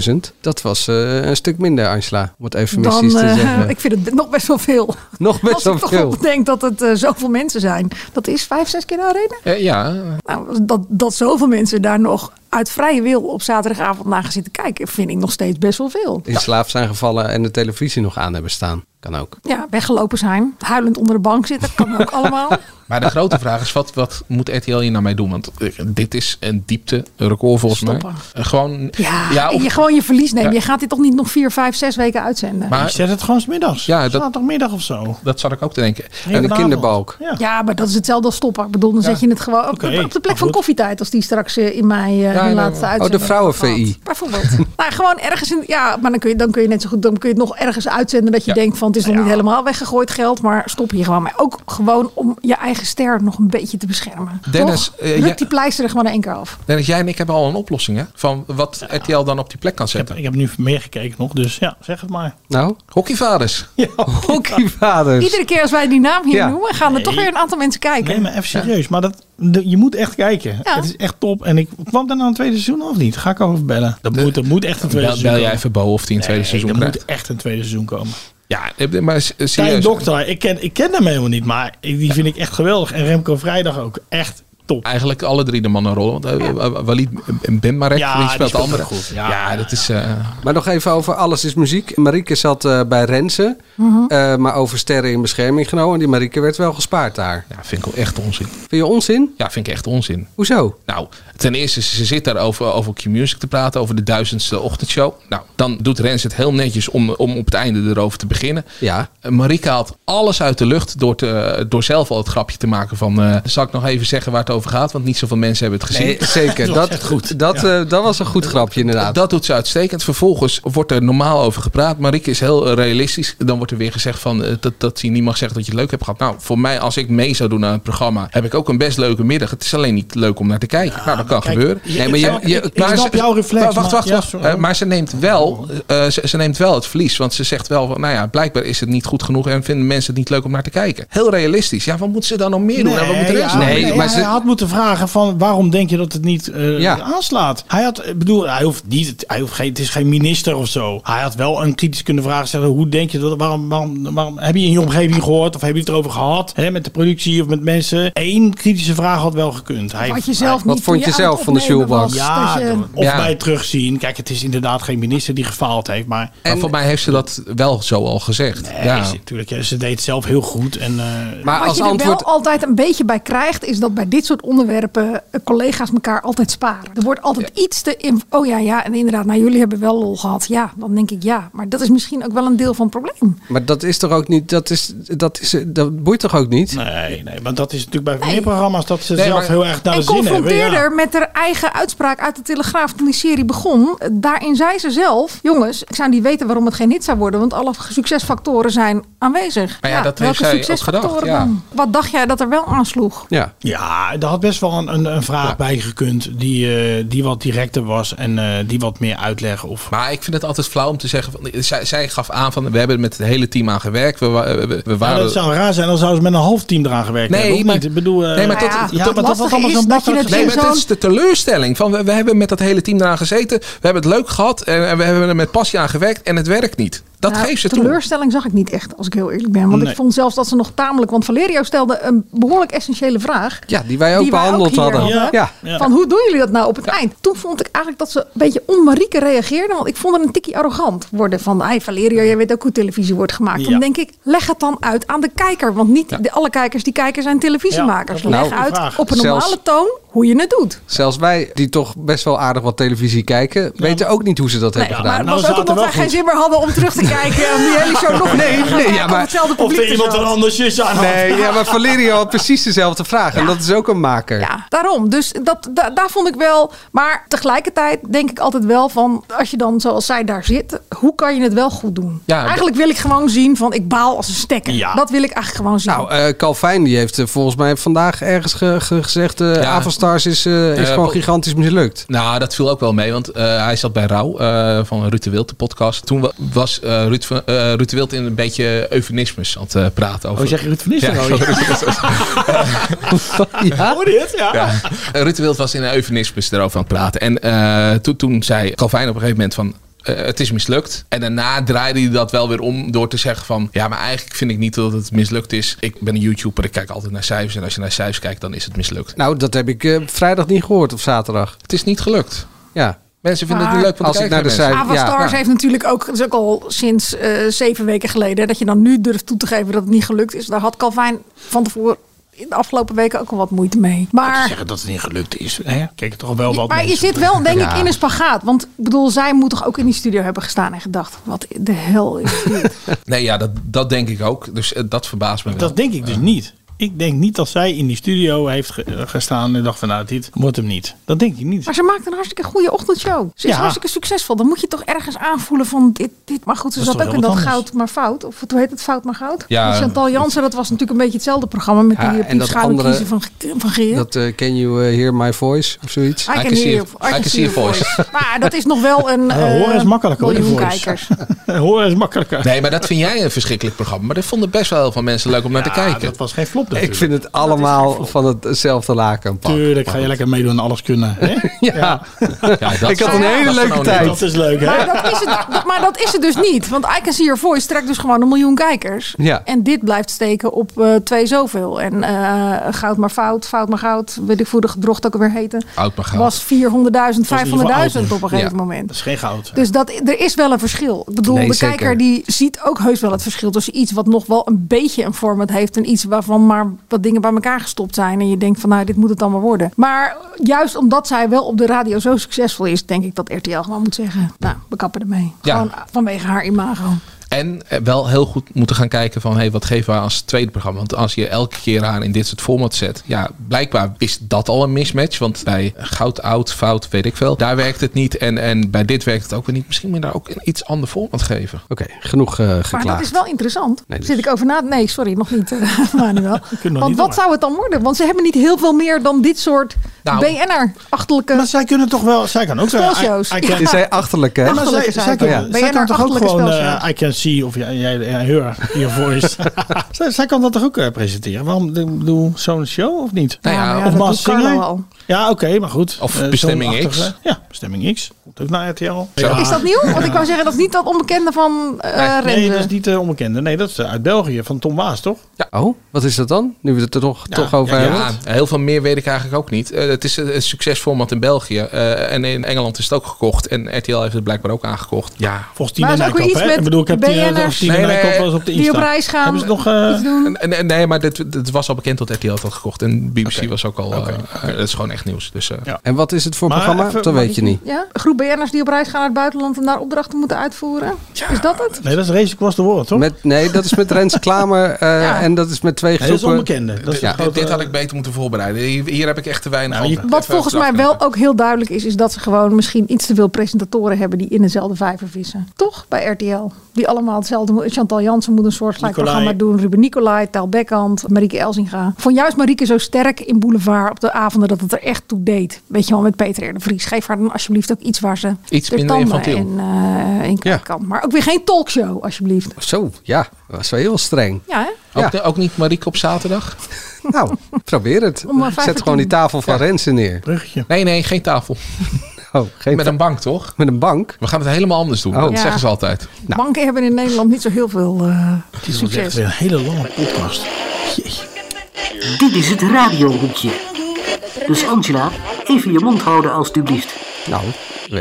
269.000. Dat was eh, een stuk minder, Angela. Om het
dan,
eufemistisch te
eh,
zeggen.
ik vind het nog best wel veel.
Nog best
Als ik
wel
toch
veel.
op denk dat het eh, zoveel mensen zijn. Dat is vijf, zes keer de arena.
Eh, ja.
Nou, dat, dat zoveel mensen daar nog uit vrije wil op zaterdagavond naar gaan zitten kijken, vind ik nog steeds best wel veel.
In slaap zijn gevallen en de televisie nog aan hebben staan. Kan ook.
Ja, weggelopen zijn, huilend onder de bank zitten, kan ook allemaal.
Maar de grote vraag is, wat, wat moet RTL hier nou mee doen? Want eh, dit is een diepte record volgens mij. Eh, Gewoon,
Ja,
of-
je gewoon je verlies nemen.
Ja.
Je gaat dit toch niet nog vier, vijf, zes weken uitzenden?
Maar-
Zet het gewoon 's middags.
Ah. Ja, dat-
Zaterdagmiddag of zo.
dat zat ik ook te denken.
En de kinderbalk.
Ja. maar dat is hetzelfde als stoppen. Ik bedoel, dan zet je het gewoon op,
Oké,
op de plek van
maar goed.
koffietijd. Als die straks eh, in mei eh, hun laatste
oh, de
uitzending.
vrouwen-VI.
Bijvoorbeeld. nou, gewoon ergens in. Ja, maar dan kun, je, dan kun je net zo goed. Dan kun je het nog ergens uitzenden dat je denkt van het is nog niet helemaal weggegooid geld. Maar stop hier gewoon. Maar ook gewoon om je eigen ster nog een beetje te beschermen.
Dennis,
Toch?
eh,
Ruk
jij-
die pleister er gewoon in één keer af.
Dennis, jij en ik hebben al een oplossing hè? van wat RTL dan op die plek kan zetten.
Ik heb nu meer gekeken nog, dus ja, zeg het maar.
Nou?
Hockeyvaders.
Ja,
hockeyvaders.
Iedere keer als wij die naam hier
Ja.
noemen, gaan er toch
Nee.
weer een aantal mensen kijken.
Nee, maar even serieus. Maar dat, de- je moet echt kijken.
Ja.
Het is echt top. En ik kwam daarna een tweede seizoen of niet? Ga ik over bellen. Dat moet, dat moet echt een
Bel,
tweede
bel
seizoen
jij
komen.
even Bo of die een tweede seizoen
er
krijgt.
moet echt een tweede seizoen komen.
Ja, eh, maar s- eh,
Tijn
serieus.
Dokter, ik ken, ik ken hem helemaal niet, maar ik- die vind ik echt geweldig. En Remco Vrijdag ook. Echt top.
Eigenlijk alle drie de mannen rollen. Want eh, eh, Walid Benmarek,
Ja,
die
die
speelt de
speelt
andere.
ook goed.
Ja, dat is... eh,
Maar nog even over Alles is muziek. Marieke zat eh, bij Rensen.
Mhm.
eh, maar over sterren in bescherming genomen. En die Marieke werd wel gespaard daar.
Ja, vind ik wel echt onzin.
Vind je onzin?
Ja, vind ik echt onzin.
Hoezo?
Nou, ten eerste, ze zit daar over, over Q-Music te praten, over de duizendste ochtendshow. Nou, dan doet Rens het heel netjes om, om op het einde erover te beginnen.
Ja.
Marika haalt alles uit de lucht door, te, door zelf al het grapje te maken van... eh, zal ik nog even zeggen waar het over gehad, want niet zoveel mensen hebben het gezien.
Nee, zeker. Dat, dat, Dat, eh, dat was een goed grapje inderdaad.
Dat doet ze uitstekend. Vervolgens wordt er normaal over gepraat. Marieke is heel eh, realistisch. Dan wordt er weer gezegd van, eh, dat, dat hij niet mag zeggen dat je het leuk hebt gehad. Nou, voor mij, als ik mee zou doen aan het programma, heb ik ook een best leuke middag. Het is alleen niet leuk om naar te kijken. nou, dat kan
kijk,
gebeuren.
je- Nee, maar ik je- snap- je- ik- ik snap
ze-
jouw reflex,
Maar, wacht,
maar-
wacht,
ja,
wacht.
sorry.
Eh, maar ze neemt, wel, eh, ze, ze neemt wel het verlies. Want ze zegt wel, van, nou ja, blijkbaar is het niet goed genoeg en vinden mensen het niet leuk om naar te kijken. Heel realistisch. Ja, wat moet ze dan nog meer doen? en wat moet er
Nee,
eens
ja,
doen?
nee, hij had moeten vragen van waarom denk je dat het niet eh, aanslaat? Hij had, ik bedoel, hij hoeft niet, hij hoeft geen, het is geen minister of zo. Hij had wel een kritisch kunnen vragen stellen. Hoe denk je dat? Waarom, waarom, waarom heb je in je omgeving gehoord of heb je het erover gehad hè, met de productie of met mensen? Eén kritische vraag had wel gekund. Hij,
Wat je zelf
hij-
niet Wat vond toen je je zelf aan het van de opnemen shoelbox? was,
Ja,
dat je-
of
Ja.
bij het terugzien. Kijk, het is inderdaad geen minister die gefaald heeft, maar.
Maar voor mij heeft ze dat wel zo al gezegd.
ja.
ja.
natuurlijk, ja, ze deed het zelf heel goed. En, eh,
Wat je er wel altijd een beetje bij krijgt, is dat bij dit soort onderwerpen eh, collega's elkaar altijd sparen. Er wordt altijd iets te. in- oh ja, ja, en inderdaad, nou jullie hebben wel lol gehad. Ja, dan denk ik ja. Maar dat is misschien ook wel een deel van het probleem.
Maar dat is toch ook niet, dat, is, dat, is, dat boeit toch ook niet?
Nee, nee, want dat is natuurlijk bij meer programma's dat ze
Nee,
zelf
maar-
heel erg
Nou,
naar de
en
zin hebben.
confronteerder
Ja.
met haar eigen uitspraak uit de Telegraaf toen die serie begon. Eh, Daarin zei ze zelf, jongens, ik zou niet weten waarom het geen hit zou worden. Want alle succesfactoren zijn aanwezig.
Maar ja, dat heeft zij ook gedacht, ja.
dan? Wat dacht jij dat er wel aansloeg?
Ja.
ja, er had best wel een, een, een vraag bij gekund die, eh, die wat directer was en eh, die wat meer uitleg. Of...
Maar ik vind het altijd flauw om te zeggen. Van, zij, zij gaf aan van we hebben er met het hele team aan gewerkt. We, wa- eh, we, we- we
Ja,
waren.
dat zou raar zijn, dan zouden ze met een half team eraan gewerkt
Nee,
hebben. of
maar-
niet? Ik bedoel, eh,
Nee, maar tot-
ja,
tot-
maar dat was allemaal zo'n makkelijk
Nee, maar
gezegd.
dat is de teleurstelling. Van, we, we hebben met dat hele team eraan gezeten. We hebben het leuk gehad. En, en we hebben er met passie aan gewerkt. En het werkt niet. Dat
Nou,
geeft ze toe.
teleurstelling zag ik niet echt, als ik heel eerlijk ben. Want
Nee.
ik vond zelfs dat ze nog tamelijk... Want Valerio stelde een behoorlijk essentiële vraag.
Ja, die wij ook behandeld
hier
hadden. Ja. Ja.
Van hoe doen jullie dat nou op het eind? Toen vond ik eigenlijk dat ze een beetje onmarieke reageerde. Want ik vond het een tikkie arrogant worden. Van, hey Valerio, jij weet ook hoe televisie wordt gemaakt.
Ja.
Dan denk ik, leg het dan uit aan de kijker. Want niet de, alle kijkers die kijken zijn televisiemakers.
Ja, dat is
leg
een goede
uit
vraag.
op een normale
Zelfs-
toon hoe je het doet.
Zelfs wij, die toch best wel aardig wat televisie kijken, weten ook niet hoe ze dat
Nee,
hebben
maar
gedaan.
het was ook omdat wij geen zin meer hadden om terug te kijken. Om die hele show nog
Nee,
te gaan
nee,
kijken
ja,
op
maar-
hetzelfde
Of
publiek
er
te
iemand
zetten.
een ander zusje aan had.
Nee, ja, maar Valerio had precies dezelfde vraag. En dat is ook een maker.
Daarom. Dus dat, da- daar vond ik wel. Maar tegelijkertijd denk ik altijd wel van. Als je dan zoals zij daar zit. Hoe kan je het wel goed doen?
Ja,
eigenlijk wil ik gewoon zien van. Ik baal als een stekker.
Ja.
Dat wil ik eigenlijk gewoon zien.
Nou, eh, Calvijn die heeft eh, volgens mij vandaag ergens ge- ge- gezegd... eh
Ja.
Avalstars is, eh, is
Eh,
gewoon
po-
gigantisch mislukt.
Nou, dat viel ook wel mee, want eh, hij zat bij Rauw eh, van Ruud de Wild, de podcast. Toen wa- was eh, Ruud, van- eh, Ruud de Wild in een beetje eufemismes aan het eh, praten over.
Oh, zeg je Ruud van Nistelrooy?
Ja, ik zal Ruud van Nistelrooy.
Hoor je het?
Ja. Eh, Ruud de Wild was in een eufemismes erover aan het praten. En eh, toen- toen zei Calvijn op een gegeven moment van... eh, het is mislukt. En daarna draaide hij dat wel weer om door te zeggen van... Ja, maar eigenlijk vind ik niet dat het mislukt is. Ik ben een YouTuber, ik kijk altijd naar cijfers. En als je naar cijfers kijkt, dan is het mislukt.
Nou, dat heb ik eh, vrijdag niet gehoord of zaterdag.
Het is niet gelukt.
Ja.
Mensen
vinden het niet leuk, want
Als ik
kijken
naar de
mensen.
cijfers...
Ava Stars heeft natuurlijk ook, dat is ook al sinds eh, zeven weken geleden. Dat je dan nu durft toe te geven dat het niet gelukt is. Daar had Calvijn van tevoren in de afgelopen weken ook al wat moeite mee. Maar
Zeggen dat het niet gelukt is. Hè? Kijk toch wel
Ja,
wat
maar je
mensen.
zit wel, denk
Ja.
ik, in een spagaat. Want ik bedoel, zij moet toch ook in die studio hebben gestaan en gedacht: wat de hel is dit?
Nee, ja, dat, dat denk ik ook. Dus eh, dat verbaast me wel.
Dat denk ik dus niet. Ik denk niet dat zij in die studio heeft ge- eh, gestaan en dacht van nou, dit wordt hem niet. Dat denk ik niet.
maar ze maakt een hartstikke goede ochtendshow. Ze is
Ja.
hartstikke succesvol. Dan moet je toch ergens aanvoelen van dit. dit. Maar goed, ze
Dat is
zat
toch heel
ook in dat
wat anders.
goud maar fout. Of hoe heet het fout maar goud?
Ja.
En Chantal Jansen, dat was natuurlijk een beetje hetzelfde programma met
Ja,
die
en dat
eh, schaduwkiezen
andere-
van, van Geert.
Dat eh, Can You eh, Hear My Voice of zoiets.
I can hear you- I can see your voice. Maar dat is nog wel een
Ja, horen is
eh,
makkelijk, hoor, die
miljoen
voice.
kijkers.
Hoor is makkelijker.
Nee, maar dat vind jij een verschrikkelijk programma. Maar dat vonden best wel heel veel mensen leuk om naar te kijken.
Dat was geen flop natuurlijk.
Ik vind het allemaal van hetzelfde laken. een pak.
Tuurlijk ga je lekker meedoen en alles kunnen. Hè?
Ja.
dat-
ik had een
Ja,
hele
dat is
leuke
gewoon-
tijd.
dat is leuk, hè?
Maar dat is, het, dat- maar dat is het dus niet. Want I Can See Your Voice trekt dus gewoon een miljoen kijkers.
Ja.
En dit blijft steken op eh, twee zoveel. En eh, goud maar fout, fout maar goud. Weet ik hoe de gedrocht ook alweer heten.
Oud maar goud.
Was 400.000, 500.000 op een gegeven
Ja.
moment.
Dat is geen goud.
Dus dat, er is wel een verschil. Ik bedoel,
Nee,
de
zeker.
kijker die ziet ook heus wel het verschil tussen iets wat nog wel een beetje een format heeft en iets waarvan maar wat dingen bij elkaar gestopt zijn. En je denkt van nou, dit moet het dan maar worden. Maar juist omdat zij wel op de radio zo succesvol is, denk ik dat RTL gewoon moet zeggen. Nou, we kappen ermee.
Ja.
Gewoon vanwege haar imago.
En eh, wel heel goed moeten gaan kijken van hey, wat geven we als tweede programma? Want als je elke keer haar in dit soort format zet, ja, blijkbaar is dat al een mismatch. Want bij goud, oud, fout, weet ik veel, daar werkt het niet. En, en bij dit werkt het ook weer niet. Misschien moet je daar ook een iets ander format geven.
Oké, genoeg eh, geklaagd.
Maar dat is wel interessant.
Nee, dus-
Zit ik over na? Nee, sorry, nog niet, eh, Manuel.
nog
Want
niet
wat zou het dan worden? Want ze hebben niet heel veel meer dan dit soort
Nou,
BNR-achterlijke... Maar
zij kunnen toch wel... Zij kan ook zeggen,
eh, Spelshows.
I- I can- Dit zijn
achterlijke,
Ja, maar zij,
Achterlijke
zij,
zijn
kan,
het.
zij
Ben jij
kan
naar
toch ook
achterlijke
gewoon
spelshows?
eh, I can see of jij, jij, jij her, your voice. zij, zij kan dat toch ook eh, presenteren? Waarom doe zo'n show of niet?
Nou ja, Ja, maar ja,
of
dat
Maas
doet Carlo
Singer?
al.
Ja, oké, maar goed.
Of
Eh, zo'n
Bestemming
achtige-
X.
Ja, Bestemming X. Komt ook naar RTL. Ja.
Is dat nieuw? Want ik wou zeggen, dat is niet dat onbekende van eh
Nee,
Renze.
dat is niet eh, onbekende. Nee, dat is eh, uit België, van Tom Waas, toch?
Oh, wat is dat dan? Nu we het er toch, toch over hebben.
Ja, heel veel meer weet ik eigenlijk ook niet. Eh, het is een, een succesformat in België. Eh, en in Engeland is het ook gekocht. En RTL heeft het blijkbaar ook aangekocht. Ja.
Volgens
Maar dat is ook weer iets met
Ik bedoel, ik heb die, eh,
BN'ers
volgens Tien en Nijkamp wel eens op de
die op reis gaan.
Hebben ze nog, eh,
iets doen.
Nee, nee, maar dit, dit was al bekend dat RTL het had gekocht. En BBC was ook al... eh, eh, dat is gewoon echt nieuws. Dus, eh.
En wat is het voor
Maar
programma?
even-
dat weet je niet.
Ja, een groep BN'ers die op reis gaan naar het buitenland en daar opdrachten moeten uitvoeren. Is dat het?
Nee, dat is Race Across the World, toch?
Met, nee, dat is met Rens Klamer eh, en dat is met twee
dat
groepen.
is onbekende. Dat is
ja.
een grote-
Dit, dit had ik beter moeten voorbereiden. Hier, Nou, hier heb ik echt te weinig over-
Wat
over
volgens mij
gedacht.
wel ook heel duidelijk is, is dat ze gewoon misschien iets te veel presentatoren hebben die in dezelfde vijver vissen. Toch? Bij RTL. Die allemaal hetzelfde moeten. Chantal Jansen moet een soortgelijk
Nicolai.
programma doen. Ruben Nicolai, Taal Bekkant, Marieke Elzinga. Ik Vond juist Marieke zo sterk in Boulevard op de avonden dat het er echt toe deed. Weet je wel, met Peter R. de Vries. Geef haar dan alsjeblieft ook iets waar ze
Iets
de
minder
tanden
infantiel.
in, eh, in kan. Maar ook weer geen talkshow, alsjeblieft.
Zo, ja. Dat was wel heel streng.
Ja, hè?
Ook, ook niet Marieke op zaterdag?
Nou, probeer het.
Om maar vijf
Zet
voor
gewoon die
tien.
tafel van Rensen neer.
Nee, nee, geen tafel.
Oh, geen
Met een bank, toch?
Met een bank?
We gaan het helemaal anders doen. Dat
Ja.
zeggen ze altijd.
Banken hebben in Nederland niet zo heel veel eh,
Het is
succes.
echt weer een hele lange podcast.
Dit is het radiohoekje. Dus Angela, even je mond houden alstublieft.
Nou,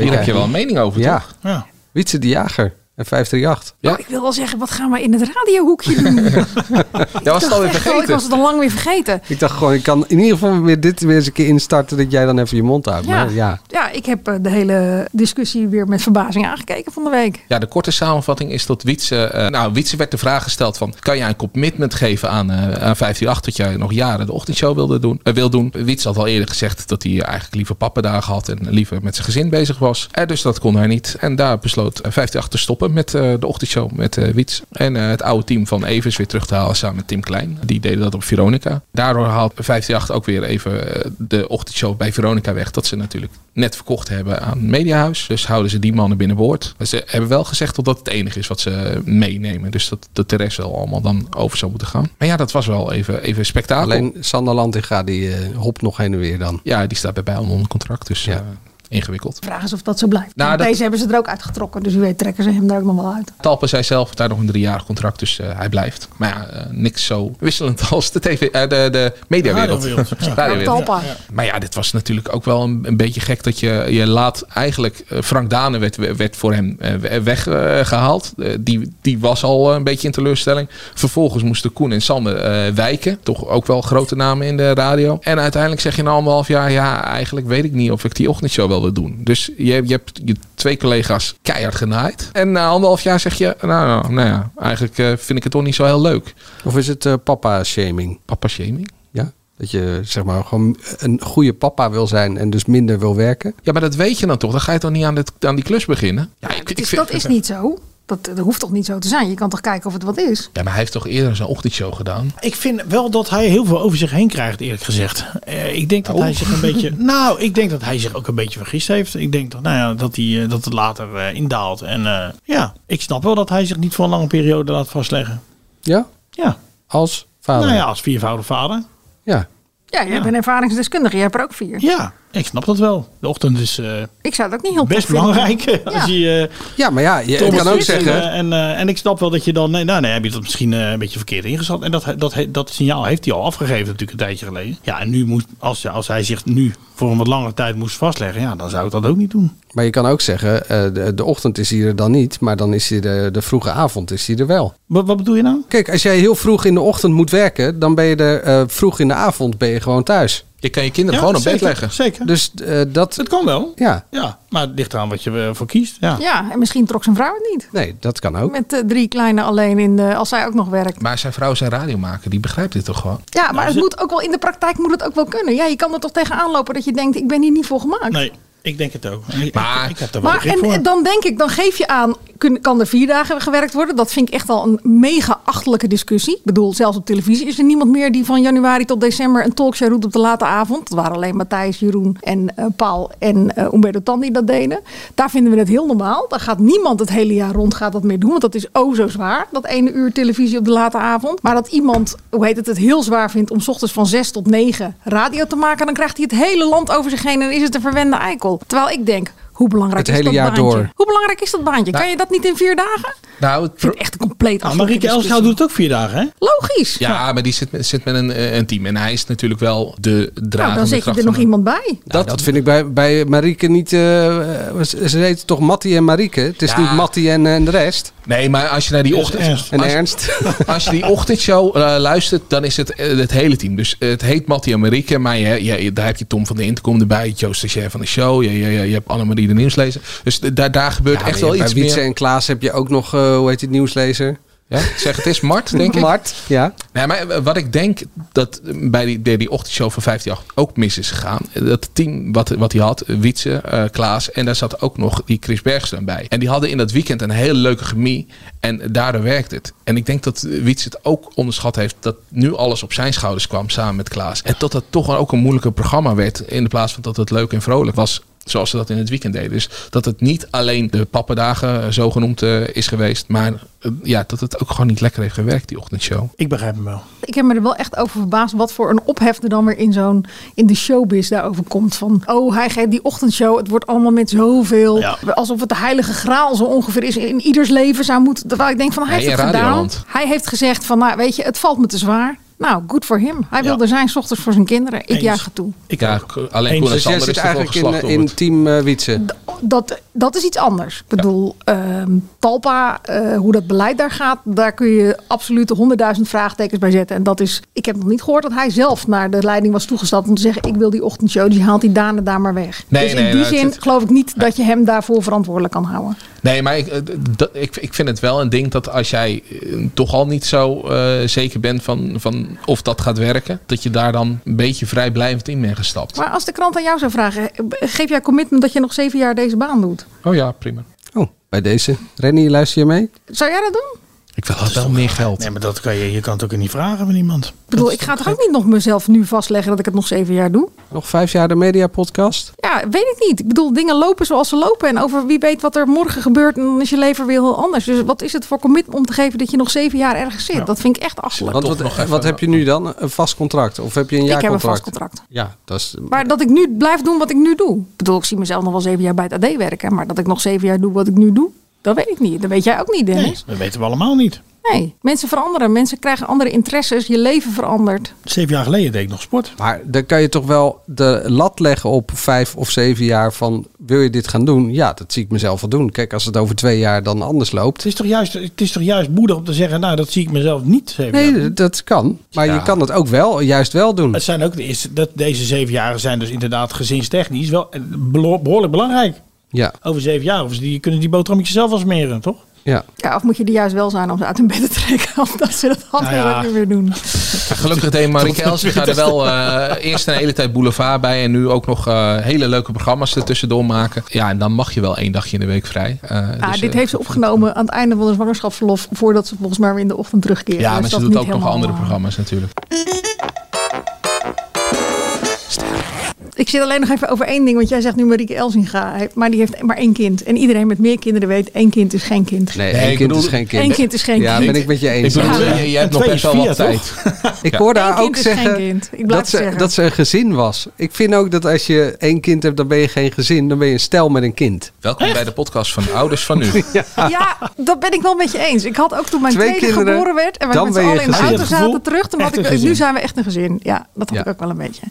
Hier heb je wel een mening over,
ja.
toch?
Ja.
Wietse de Jager en 538.
Ja.
Oh, ik wil wel zeggen, wat gaan we in het radiohoekje doen?
Jij was
Ik
het
dacht
Oh,
alweer
echt wel,
vergeten.
Ik was het al lang weer vergeten.
Ik dacht gewoon, ik kan in ieder geval weer dit weer eens een keer instarten dat jij dan even je mond houdt.
Ja.
Maar ja.
Ja, ik heb eh, de hele discussie weer met verbazing aangekeken van de week.
Ja, de korte samenvatting is dat Wietse... eh, nou, Wietse werd de vraag gesteld van... kan jij een commitment geven aan, eh aan 158 dat jij nog jaren de ochtendshow wilde doen, eh, wil doen? Wietse had al eerder gezegd dat hij eigenlijk liever pappendagen had... en liever met zijn gezin bezig was. Eh, dus dat kon hij niet. En daar besloot eh, 158 te stoppen met eh, de ochtendshow met eh Wiets. En eh, het oude team van Evers weer terug te halen samen met Tim Klein. Die deden dat op Veronica. Daardoor haalt 158 ook weer even eh, de ochtendshow bij Veronica weg. Dat ze natuurlijk net verkocht hebben aan Mediahuis. Dus houden ze die mannen binnenboord. Maar Ze hebben wel gezegd dat dat het enige is wat ze meenemen. Dus dat, dat de rest wel allemaal dan over zou moeten gaan. Maar ja, dat was wel even, even spektakel.
Alleen Sander Lantinga, die eh, hopt nog heen en weer dan.
Ja, die staat bij Bijlmer onder contract. Dus eh, ingewikkeld.
De vraag is of dat zo blijft.
Nou,
Want
dat-
Deze hebben ze er ook uitgetrokken, dus wie weet trekken ze hem daar ook nog wel uit.
Talpa zei zelf daar nog een driejarig contract, dus eh, hij blijft. Maar ja, eh, niks zo wisselend als de, TV, eh, de, de mediawereld.
Radiowereld, ja.
Radiowereld.
Talpa.
Maar ja, dit was natuurlijk ook wel een, een beetje gek dat je, je laat eigenlijk eh, Frank Dane werd, werd voor hem eh, weggehaald. Eh, die, die was al eh, een beetje in teleurstelling. Vervolgens moesten Koen en Sander eh, wijken. Toch ook wel grote namen in de radio. En uiteindelijk zeg je na anderhalf jaar, ja, eigenlijk weet ik niet of ik die ochtendshow wel wil doen. Dus je, je hebt je twee collega's keihard genaaid. En na anderhalf jaar zeg je, nou, nou, nou ja, eigenlijk eh, vind ik het toch niet zo heel leuk.
Of is het eh, papa-shaming?
Papa-shaming?
Ja, dat je zeg maar gewoon een goede papa wil zijn en dus minder wil werken.
Ja, maar dat weet je dan toch? Dan ga je toch niet aan, dit, aan die klus beginnen? Ja, ik,
Dat is, dat is niet zo. Dat, dat hoeft toch niet zo te zijn? Je kan toch kijken of het wat is?
Ja, maar hij heeft toch eerder zijn ochtendshow gedaan?
Ik vind wel dat hij heel veel over zich heen krijgt, eerlijk gezegd. Eh, ik denk dat hij zich een beetje. Nou, ik denk dat hij zich ook een beetje vergist heeft. Ik denk dat, nou ja, dat, hij, eh, dat het later eh, indaalt. En eh, ja, ik snap wel dat hij zich niet voor een lange periode laat vastleggen.
Ja?
Ja.
Als vader?
Nou ja, als viervoudig vader.
Ja.
Ja, jij bent ervaringsdeskundige, jij hebt er ook vier.
Ja, ik snap dat wel. De ochtend is eh,
Ik zou het ook niet heel
best
tof vinden.
belangrijk. Als je, eh,
Ja, maar ja, je
Thomas
kan ook
is en,
zeggen...
eh, En, eh, en ik snap wel dat je dan. Nee, nou, nee, heb je dat misschien eh, een beetje verkeerd ingeschat. En dat, dat, dat signaal heeft hij al afgegeven, natuurlijk, een tijdje geleden. Ja, en nu moet. Als, als hij zich nu voor een wat langere tijd moest vastleggen. Ja, dan zou ik dat ook niet doen.
Maar je kan ook zeggen, eh, de, de ochtend is hier dan niet, maar dan is hier de, de vroege avond is hier er wel.
Wat, wat bedoel je nou?
Kijk, als jij heel vroeg in de ochtend moet werken, dan ben je er eh, vroeg in de avond ben je gewoon thuis.
Je kan je kinderen
Ja,
gewoon op bed
zeker,
leggen.
Zeker.
Dus dat...
Het kan wel.
Ja.
ja. Maar het ligt eraan wat je eh, voor kiest. Ja.
Ja, en misschien trok zijn vrouw het niet.
Nee, dat kan ook.
Met eh, drie kleine alleen in de, als zij ook nog werkt.
Maar zijn vrouw zijn radiomaker, die begrijpt dit toch gewoon?
Ja, maar het moet ook wel in de praktijk moet het ook wel kunnen. Ja, je kan er toch tegenaan lopen dat je denkt, ik ben hier niet voor gemaakt.
Nee, ik denk het ook. Ik, maar, ik, ik heb daar wel
Maar
begrip
en,
voor.
en dan denk ik, dan geef je aan, kun- kan er vier dagen gewerkt worden? Dat vind ik echt al een mega achtelijke discussie. Ik bedoel, zelfs op televisie is er niemand meer die van januari tot december een talkshow roept op de late avond. Dat waren alleen Matthijs, Jeroen en eh, Paul en eh Umberto Tan die dat deden. Daar vinden we het heel normaal. Daar gaat niemand het hele jaar rond gaat dat meer doen, want dat is oh zo zwaar. Dat ene uur televisie op de late avond. Maar dat iemand, hoe heet het, het heel zwaar vindt om 's ochtends van zes tot negen radio te maken, dan krijgt hij het hele land over zich heen en is het een verwende eikel. Terwijl ik denk, hoe
Het
belangrijk is
hele
dat
jaar
baantje?
door.
Hoe belangrijk is dat baantje?
Nou-
kan je dat niet in vier dagen?
Nou, het
echt compleet
Ah, Marieke Elsgouw doet het ook vier dagen, hè?
Logisch. Nou,
Ja, maar die zit, met- zit met een, eh, een team. En hij is natuurlijk wel de dragende
nou, dan zet je
kracht
er
van
nog
het-
iemand bij.
Nou, Dat, vind ik bij, bij Marieke niet... eh, ze ze heet toch Mattie en Marieke? Het is
Ja.
niet Mattie en, eh, en de rest.
Nee, maar als je naar die
En
ochtend...
Ernst. En
Als,
Ernst.
Als je die ochtendshow eh, luistert, dan is het eh, het hele team. Dus eh, het heet Mattie en Marieke, maar je, je, je- daar heb je Tom van de Intercom erbij, Joost de Chef van de show, je, je, je, je hebt Annemarie de Nieuwslezer. Dus d- daar, daar gebeurt
Ja,
echt
maar
wel
je-
iets
bij
meer.
Wietse en Klaas heb je ook nog, eh, hoe heet die nieuwslezer?
Ja, zeg, het is Mart, denk ik.
Mart, ja.
Nee, maar eh, wat ik denk dat bij die, bij die ochtendshow van 158 ook mis is gegaan. eh, Dat team wat, wat hij had, Wietse, eh, Klaas en daar zat ook nog die Chris Bergström bij. En die hadden in dat weekend een hele leuke chemie en daardoor werkt het. En ik denk dat Wietse het ook onderschat heeft dat nu alles op zijn schouders kwam samen met Klaas. En dat dat toch ook een moeilijker programma werd in de plaats van dat het leuk en vrolijk was. Zoals ze dat in het weekend deden. Dus dat het niet alleen de pappendagen eh, zogenoemd eh, is geweest. Maar eh, ja, dat het ook gewoon niet lekker heeft gewerkt, die ochtendshow.
Ik begrijp hem wel.
Ik heb me er wel echt over verbaasd wat voor een ophef er dan weer in zo'n in de showbiz daarover komt. Van oh, hij geeft die ochtendshow. Het wordt allemaal met zoveel. Alsof het de heilige graal zo ongeveer is. In ieders leven zou moeten. Terwijl ik denk van hij
Nee,
heeft
in
het gedaan.
Radioland.
Hij heeft gezegd van nou weet je, het valt me te zwaar. Nou, good voor hem. Hij wilde zijn 's ochtends voor zijn kinderen. Ik juich het toe.
Ik eh,
ja, k- alleen Koen en
Dus jij
Sander
zit
is er wel
eigenlijk in,
geslacht
eh, in team eh, Wietse.
dat, dat is iets anders. Ik bedoel, ehm, Talpa, eh, hoe dat beleid daar gaat, daar kun je absoluut honderdduizend vraagtekens bij zetten. En dat is, ik heb nog niet gehoord dat hij zelf naar de leiding was toegestapt om te zeggen: Ik wil die ochtendshow, die haalt die Danen daar maar weg.
Nee,
dus
nee,
in die
nou, het-
zin
het-
geloof ik niet dat je hem daarvoor verantwoordelijk kan houden.
Nee, maar ik, eh, d- dat- ik, ik vind het wel een ding dat als jij eh, toch al niet zo eh, zeker bent van, van of dat gaat werken, dat je daar dan een beetje vrijblijvend in bent gestapt.
Maar als de krant aan jou zou vragen: geef jij commitment dat je nog zeven jaar deze baan doet?
Oh ja, prima.
Oh, bij deze. Rennie, luister je mee?
Zou jij dat doen?
Ik wil wel meer geld.
Nee, maar dat kan je, je kan het ook niet vragen van iemand.
Ik bedoel, ik ga toch ook niet nog mezelf nu vastleggen dat ik het nog zeven jaar doe?
Nog vijf jaar de media podcast.
Ja, weet ik niet. Ik bedoel, dingen lopen zoals ze lopen. En over wie weet wat er morgen gebeurt, dan is je leven weer heel anders. Dus wat is het voor commitment om te geven dat je nog zeven jaar ergens zit? Dat vind ik echt achterlijk.
Want wat, wat heb je nu dan? Een vast contract? Of heb je een
Ik heb een
jaarcontract?
vast contract.
Ja, dat is...
Maar dat ik nu blijf doen wat ik nu doe. Ik bedoel, ik zie mezelf nog wel zeven jaar bij het AD werken. Maar dat ik nog zeven jaar doe wat ik nu doe, dat weet ik niet. Dat weet jij ook niet,
Nee,
Dennis.
dat weten we allemaal niet.
Nee, mensen veranderen. Mensen krijgen andere interesses. Je leven verandert.
Zeven jaar geleden deed ik nog sport.
Maar dan kan je toch wel de lat leggen op vijf of zeven jaar van... wil je dit gaan doen? Ja, dat zie ik mezelf wel doen. Kijk, als het over twee jaar dan anders loopt...
Het is toch juist, het is toch juist moedig om te zeggen, nou dat zie ik mezelf niet zeven jaar.
Nee, dat kan. Maar je kan het ook wel, juist wel doen.
Het zijn ook de eerste, dat deze zeven jaren zijn dus inderdaad gezinstechnisch wel eh, belo- behoorlijk belangrijk.
Ja,
Over zeven jaar, of ze die, kunnen die boterhammetjes zelf wel smeren, toch?
ja.
Ja, of moet je er juist wel zijn om ze uit hun bed te trekken? Of dat ze dat handelen
Nou ja.
niet meer doen.
Gelukkig deed Marieke Els gaat er wel eh, eerst een hele tijd boulevard bij en nu ook nog eh, hele leuke programma's ertussendoor maken. Ja, en dan mag je wel één dagje in de week vrij. Eh,
Ah,
dus,
dit
eh,
heeft ze opgenomen aan het einde van de zwangerschapsverlof. Voordat ze volgens mij weer in de ochtend terugkeert.
ja,
Dus
maar ze
dat
doet
niet
ook nog
helemaal,
andere
eh,
programma's natuurlijk.
Ik zit alleen nog even over één ding. Want jij zegt nu Marieke Elzinga. hij- Maar die heeft maar één kind. En iedereen met meer kinderen weet, één kind is geen kind.
Nee, één
ik
kind
bedoel-
is geen kind.
Eén kind is geen
ja,
kind.
ben ik met je eens.
Ik bedoel,
Ja.
je, je hebt
En
nog
twee
best
is
wel wat
vier,
tijd.
Ik hoor daar
Eén
ook
kind is geen
zeggen,
kind. Ik blijf
dat, ze,
zeggen.
dat ze een gezin was. Ik vind ook dat als je één kind hebt, dan ben je geen gezin. Dan ben je een stel met een kind.
Welkom bij de podcast van Ouders van Nu.
Ja, dat ben ik wel met je eens. Ik had ook toen mijn
Twee
tweede
kinderen,
geboren werd. En we
dan
met z'n
ben je
allen in de
gezin.
auto
Als je het
zaten
voelt,
terug. Toen had
echt een
ik,
gezin.
nu zijn we echt een gezin. Ja, dat had
Ja.
ik ook wel een beetje.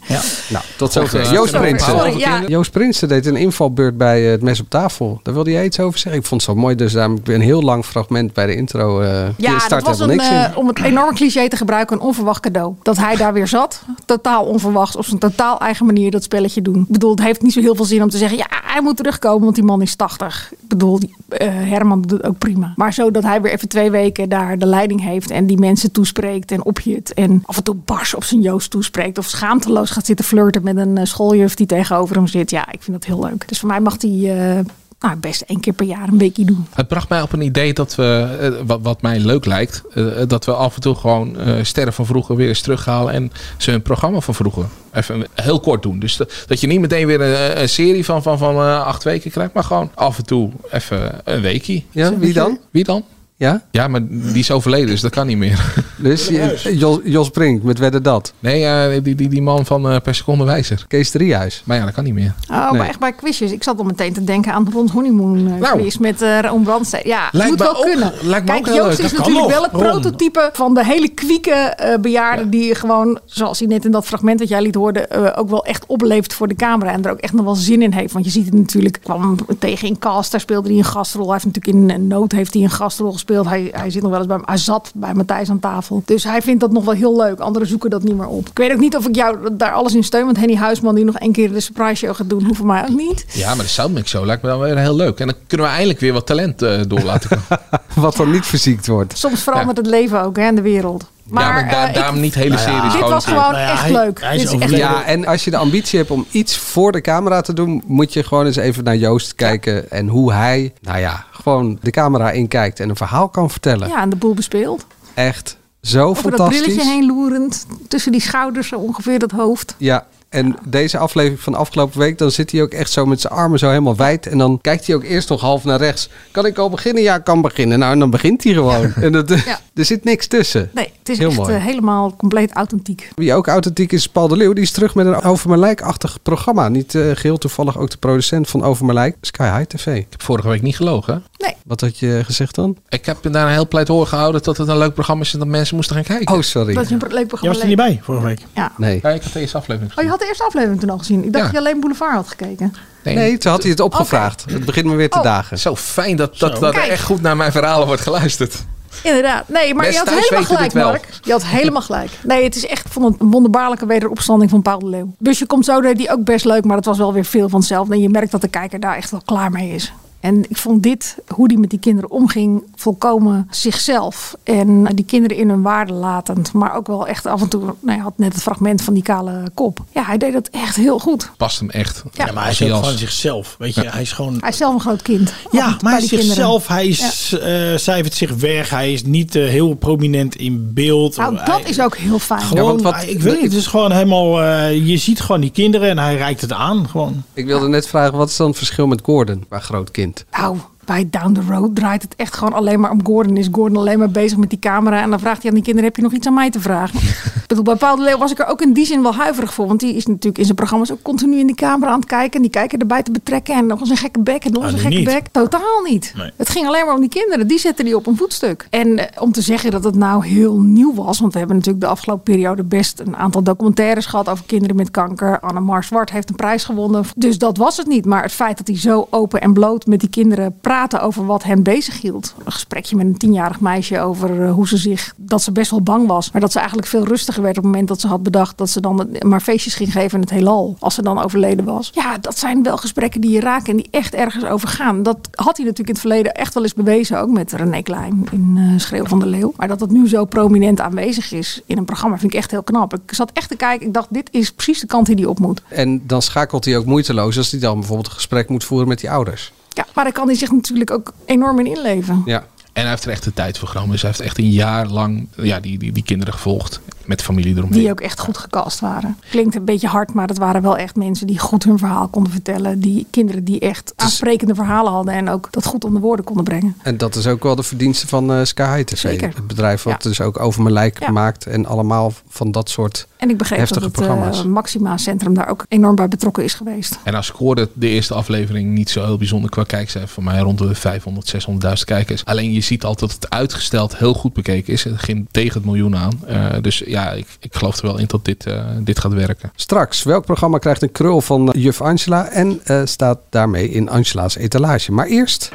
Nou, tot
God,
zover.
eh,
Joost
Sorry,
Prinsen.
sorry, ja.
Joost Prinsen deed een invalbeurt bij eh, het mes op tafel. Daar wilde jij iets over zeggen? Ik vond het zo mooi, dus daarom heb ik een heel lang fragment bij de intro. eh je
Ja,
start
dat was een,
helemaal niks
eh, om het enorme cliché te gebruiken, een onverwacht cadeau. Dat hij daar weer zat, totaal onverwacht, op zijn totaal eigen manier dat spelletje doen. Ik bedoel, het heeft niet zo heel veel zin om te zeggen, ja, hij moet terugkomen, want die man is 80. Ik bedoel, die, eh, Herman doet het ook prima. Maar zo dat hij weer even twee weken daar de leiding heeft en die mensen toespreekt en opjut en af en toe bars op zijn Joost toespreekt of schaamteloos gaat zitten flirten met een eh, schooljuf die tegenover hem zit. Ja, ik vind dat heel leuk. Dus voor mij mag hij eh, nou, best één keer per jaar een weekje doen.
Het bracht mij op een idee dat we, eh, wat, wat mij leuk lijkt, eh, dat we af en toe gewoon eh, sterren van vroeger weer eens terughalen en ze hun programma van vroeger even heel kort doen. Dus dat, dat je niet meteen weer een, een serie van, van, van eh, acht weken krijgt, maar gewoon af en toe even een weekie.
Ja, wie dan?
Wie dan?
Ja?
Ja, maar die is overleden, dus dat kan niet meer.
Dus je- Jos, Jos Brink met Wedden Dat.
Nee, eh, die, die, die man van eh, Per Seconde Wijzer.
Kees Driehuis.
Maar ja, dat kan niet meer.
Oh,
Nee. Nou.
maar echt bij quizjes. Ik zat al meteen te denken aan de Rond Honeymoon eh, quiz met eh Ron Brandstede. Ja,
Lijkt
moet
me
wel
ook-
kunnen.
lijkt me
Kijk,
ook heel
Joost
leuk.
is
Dat kan
natuurlijk
nog,
wel het
Ron.
prototype van de hele kwieke eh, bejaarde die gewoon, zoals hij net in dat fragment dat jij liet horen, eh, ook wel echt opleeft voor de camera en er ook echt nog wel zin in heeft. Want je ziet het natuurlijk, ik kwam hem tegen in Cast, daar speelde hij een gastrol. Hij heeft natuurlijk in eh, Nood heeft hij een gastrol gespeeld. Hij, hij zit nog wel eens bij Azat, bij Matthijs aan tafel. Dus hij vindt dat nog wel heel leuk. Anderen zoeken dat niet meer op. Ik weet ook niet of ik jou daar alles in steun, want Henny Huisman die nog één keer de surprise show gaat doen, hoeft voor mij ook niet.
Ja, maar de Soundmix Show lijkt me dan weer heel leuk. En dan kunnen we eindelijk weer wat talent eh, door laten komen.
Wat dan niet verziekt wordt.
Soms verandert het leven ook hè, en de wereld. Maar,
ja, maar daar-
eh,
daarom niet hele
Nou ja,
series.
dit was gewoon
natuurlijk.
echt leuk. Dit is echt leuk.
Ja, en als je de ambitie hebt om iets voor de camera te doen, moet je gewoon eens even naar Joost kijken en hoe hij, nou ja, gewoon de camera inkijkt en een verhaal kan vertellen.
Ja, en de boel bespeeld.
Echt zo
Over dat
fantastisch.
brilletje heen loerend. Tussen die schouders, zo ongeveer dat hoofd.
Ja, en deze aflevering van afgelopen week, dan zit hij ook echt zo met zijn armen zo helemaal wijd. En dan kijkt hij ook eerst nog half naar rechts. Kan ik al beginnen? Ja, ik kan beginnen. Nou, en dan begint hij gewoon. En dat, er zit niks tussen.
Nee, het is
Heel
echt
mooi.
eh, helemaal compleet authentiek.
Wie ook authentiek is, is Paul de Leeuw. Die is terug met een Over mijn Lijk-achtig programma. Niet eh, geheel toevallig ook de producent van Over mijn Lijk, Sky High TV. Ik
heb vorige week niet gelogen.
Nee.
Wat had je gezegd dan?
Ik heb daar een heel pleidooi gehouden dat het een leuk programma is en dat mensen moesten gaan kijken.
Oh, sorry.
Dat is een leuk programma.
Jij was er niet bij vorige week?
Ja.
Nee.
Ja, ik had de eerste aflevering
Oh, je had de eerste aflevering toen al gezien. Ik dacht dat
Ja.
je alleen Boulevard had gekeken.
Nee, toen had hij het opgevraagd. Het begint me weer
Oh.
te dagen.
Zo fijn dat, dat,
Zo.
dat er
Kijk.
echt goed naar mijn verhalen wordt geluisterd.
Inderdaad. Nee, maar
Best
je had
thuis
helemaal
weten
gelijk,
dit wel.
Mark. Je had helemaal gelijk. Nee, het is echt van een wonderbaarlijke wederopstanding van Paul de Leeuw. Dus je komt zo deed die ook best leuk, maar het was wel weer veel van hetzelfde. En je merkt dat de kijker daar echt wel klaar mee is. En ik vond dit, hoe die met die kinderen omging, volkomen zichzelf. En die kinderen in hun waarde latend. Maar ook wel echt af en toe, nou, hij had net het fragment van die kale kop. Ja, hij deed dat echt heel goed.
Past hem echt.
Ja,
maar hij is
Als
ook
als-
van zichzelf. Weet je, hij is gewoon
Hij is zelf een groot kind.
Ja,
Altijd
maar hij
bij die
is
kinderen.
zichzelf. Hij
Ja.
is, eh, cijfert zich weg. Hij is niet eh, heel prominent in beeld.
Nou,
Hij-
dat is ook heel fijn.
Gewoon, hij- ik weet niet, het is gewoon helemaal... eh, je ziet gewoon die kinderen en hij reikt het aan. Gewoon.
Ik wilde net vragen, wat is dan het verschil met Gordon qua groot kind?
Nou, bij Down the Road draait het echt gewoon alleen maar om Gordon. Is Gordon alleen maar bezig met die camera? En dan vraagt hij aan die kinderen: heb je nog iets aan mij te vragen? ik bedoel, bij Paul de Leeuw was ik er ook in die zin wel huiverig voor. Want die is natuurlijk in zijn programma's ook continu in die camera aan het kijken. En die kijken erbij te betrekken. En nog eens een gekke bek. En nog eens
Ah,
een
nu
gekke
niet.
bek. Totaal niet. Het ging alleen maar om die kinderen. Die zetten die op een voetstuk. En eh, om te zeggen dat het nou heel nieuw was. Want we hebben natuurlijk de afgelopen periode best een aantal documentaires gehad over kinderen met kanker. Annemar Zwart heeft een prijs gewonnen. Dus dat was het niet. Maar het feit dat hij zo open en bloot met die kinderen praatte over wat hen bezighield. Een gesprekje met een tienjarig meisje over eh, hoe ze zich, dat ze best wel bang was. Maar dat ze eigenlijk veel rustiger werd op het moment dat ze had bedacht dat ze dan maar feestjes ging geven in het heelal. Als ze dan overleden was. Ja, dat zijn wel gesprekken die je raken en die echt ergens over gaan. Dat had hij natuurlijk in het verleden echt wel eens bewezen. Ook met René Klein in eh, Schreeuw van de Leeuw. Maar dat dat nu zo prominent aanwezig is in een programma vind ik echt heel knap. Ik zat echt te kijken. Ik dacht, dit is precies de kant die die op moet.
En dan schakelt hij ook moeiteloos als hij dan bijvoorbeeld een gesprek moet voeren met die ouders.
Ja, maar daar kan hij zich natuurlijk ook enorm in inleven.
Ja.
En hij heeft er echt de tijd voor genomen. Dus hij heeft echt een jaar lang ja, die, die, die kinderen gevolgd. Met de familie eromheen.
Die ook echt goed gecast waren. Klinkt een beetje hard, maar dat waren wel echt mensen die goed hun verhaal konden vertellen. Die kinderen die echt aansprekende verhalen hadden en ook dat goed onder woorden konden brengen.
En dat is ook wel de verdienste van eh, Sky High TV.
Zeker.
Het bedrijf wat dus ook Over mijn Lijk
Ja.
maakt. En allemaal van dat soort
En ik begreep
heftige
dat het
programma's.
eh, Maxima Centrum daar ook enorm bij betrokken is geweest.
En nou scoorde de eerste aflevering niet zo heel bijzonder qua kijkcijfer. Voor mij rond de 500, 600.000 kijkers. Alleen je ziet altijd dat het uitgesteld heel goed bekeken is. Het ging tegen het miljoen aan. Eh, dus ja, ik, ik geloof er wel in dat dit, eh, dit gaat werken.
Straks, welk programma krijgt een krul van eh, juf Angela en eh, staat daarmee in Angela's etalage? Maar eerst.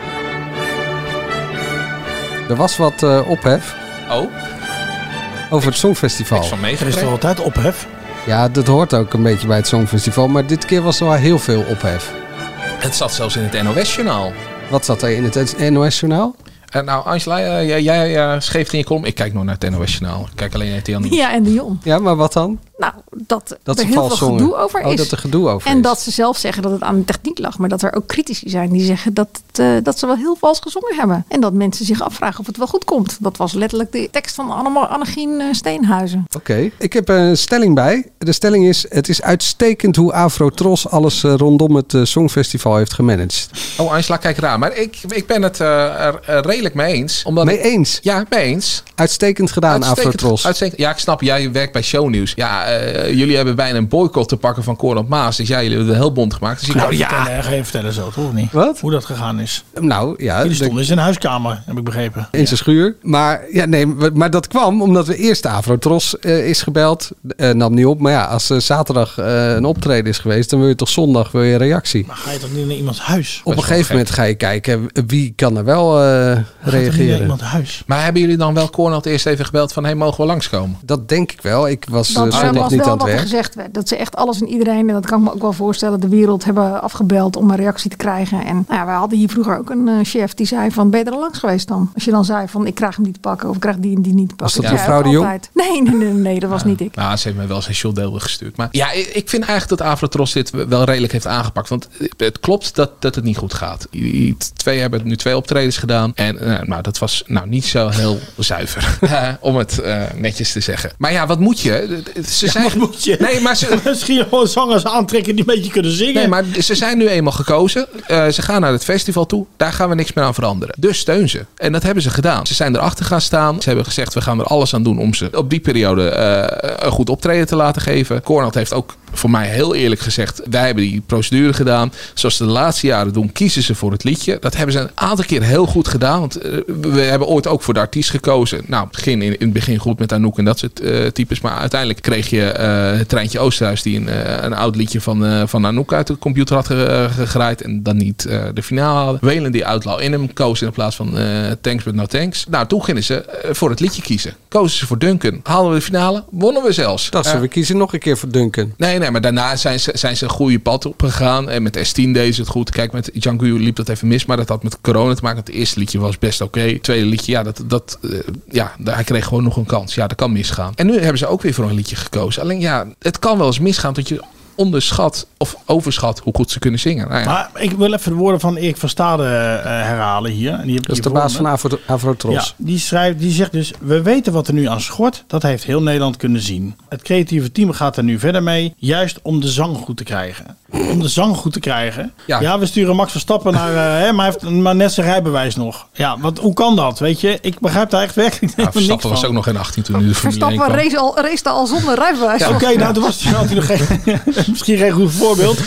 Er was wat eh, ophef
Oh,
over het Songfestival.
niks van
Er is
meegekregen.
toch altijd ophef?
Ja, dat hoort ook een beetje bij het Songfestival, maar dit keer was er wel heel veel ophef.
Het zat zelfs in het NOS-journaal.
Wat zat er in het NOS-journaal?
Eh, nou, Angela, eh, jij, jij eh, schreef het in je column. Ik kijk nog naar het NOS-journaal. Ik kijk alleen naar RTL Nieuws.
Ja, en Dion.
Ja, maar wat dan?
Nou, dat,
Dat
er
ze
heel veel
vals zongen.
gedoe over
Oh,
is.
dat er gedoe over
en
is.
dat ze zelf zeggen dat het aan de techniek lag. Maar dat er ook critici zijn die zeggen dat, het, eh, dat ze wel heel vals gezongen hebben. En dat mensen zich afvragen of het wel goed komt. Dat was letterlijk de tekst van Anne- Annegien eh, Steenhuizen.
Oké, ik heb een stelling bij. De stelling is: het is uitstekend hoe Afrotros alles eh, rondom het eh, Songfestival heeft gemanaged.
Oh, Angela, kijk raar. Maar ik, ik ben het eh, er eh, redelijk mee eens. Omdat
Mee
ik-
eens?
Ja, mee eens.
Uitstekend gedaan, Afrotros.
uitstekend. Ja, ik snap. Jij werkt bij Shownieuws. Ja, eh, jullie hebben bijna een boycott te pakken van Cor op Maas. Dus ja, jullie hebben het heel bond gemaakt. Dus ik
Nou
kan niet
ja,
vertellen.
vertellen, ga je vertellen zo, toch? Of niet?
Wat?
Hoe dat gegaan is.
Nou, ja.
Jullie
de-
stonden in zijn huiskamer, heb ik begrepen.
In zijn schuur. Maar, ja, nee, we- maar dat kwam omdat we eerst Avrotros eh, is gebeld. Eh, nam niet op. Maar ja, als eh, zaterdag eh, een optreden is geweest, dan wil je toch zondag wil je een reactie.
Ga je toch niet naar iemands huis?
Op een gegeven moment ga je kijken wie kan er wel eh, reageren.
huis.
Maar hebben jullie dan wel Cornel eerst even gebeld van... hé, hey, mogen we langskomen?
Dat denk ik wel. Ik was
Dat
eh,
er
zondag
was
niet
wel
aan het
wat er
werk.
gezegd werd. Dat ze echt alles en iedereen, en dat kan ik me ook wel voorstellen, de wereld hebben afgebeld om een reactie te krijgen. En nou ja, wij hadden hier vroeger ook een eh, chef die zei van, ben je er al langs geweest dan? Als je dan zei van, ik krijg hem niet te pakken of ik krijg die en die niet te
Was
pakken.
dat
Ik zei
mevrouw
ook
de Jong?
altijd, Nee, nee, nee, nee, dat was niet ik.
Nou, ze heeft me wel zijn shotdeel gestuurd. Maar ja, ik ik vind eigenlijk dat Avrotros dit wel redelijk heeft aangepakt. Want het klopt dat, dat het niet goed gaat. Jullie Twee hebben nu twee optredens gedaan. En eh, nou, dat was nou niet zo heel zuiver. eh, om het eh, netjes te zeggen. Maar ja, wat moet je? Ze zijn...
moet je?
Nee, maar ze...
Misschien gewoon zangers aantrekken die een beetje kunnen zingen.
Nee, maar ze zijn nu eenmaal gekozen. Eh, ze gaan naar het festival toe. Daar gaan we niks meer aan veranderen. Dus steun ze. En dat hebben ze gedaan. Ze zijn erachter gaan staan. Ze hebben gezegd, we gaan er alles aan doen om ze op die periode eh, een goed optreden te laten geven. Cornald heeft ook voor mij heel eerlijk gezegd, wij hebben die procedure gedaan. Zoals ze de laatste jaren doen, kiezen ze voor het liedje. Dat hebben ze een aantal keer heel goed gedaan. Want eh, we hebben ooit ook voor de artiest gekozen. Nou, het begin, in, in het begin goed met Anouk en dat soort eh, types. Maar uiteindelijk kreeg je eh Treintje Oosterhuis... die een, eh, een oud liedje van, eh, van Anouk uit de computer had ge- eh, gegraaid... en dan niet eh, de finale hadden. Welen die Outlaw in hem koos in plaats van eh, Thanks But No Thanks. Nou, toen gingen ze eh, voor het liedje kiezen. Kozen ze voor Duncan. Haalden we de finale, wonnen we zelfs.
Dat ze
Eh,
we kiezen nog een keer voor Duncan.
Nee, nee, maar daarna zijn ze, zijn ze een goede pad op gegaan. En met S10 deden ze het goed. Kijk, met Django liep dat even mis. Maar dat had met corona te maken. Het eerste liedje was best oké. Het tweede liedje, ja, dat, dat, eh, ja, hij kreeg gewoon nog een kans. Ja, dat kan misgaan. En nu hebben ze ook weer voor een liedje gekozen. Alleen ja, het kan wel eens misgaan dat je onderschat of overschat hoe goed ze kunnen zingen. Nou ja.
Maar ik wil even de woorden van Erik van Stade eh, herhalen hier. En die heb ik
Dat is
hier
de
voor
baas
me.
van Avro- Avrotros.
Ja, die, schrijft, die zegt dus: We weten wat er nu aan schort. Dat heeft heel Nederland kunnen zien. Het creatieve team gaat er nu verder mee. Juist om de zang goed te krijgen. Om de zang goed te krijgen. Ja,
Ja.
we sturen Max Verstappen naar. eh, hè, maar hij heeft maar net zijn rijbewijs nog. Ja, want hoe kan dat? Weet je, ik begrijp daar echt werkelijk
Ja,
helemaal niks
Verstappen
van.
was ook nog geen 18 toen hij de Formule 1
Verstappen
kwam.
race al, race al zonder rijbewijs.
Ja, Oké, nou, toen was hij, had hij nog geen, misschien geen goed voorbeeld.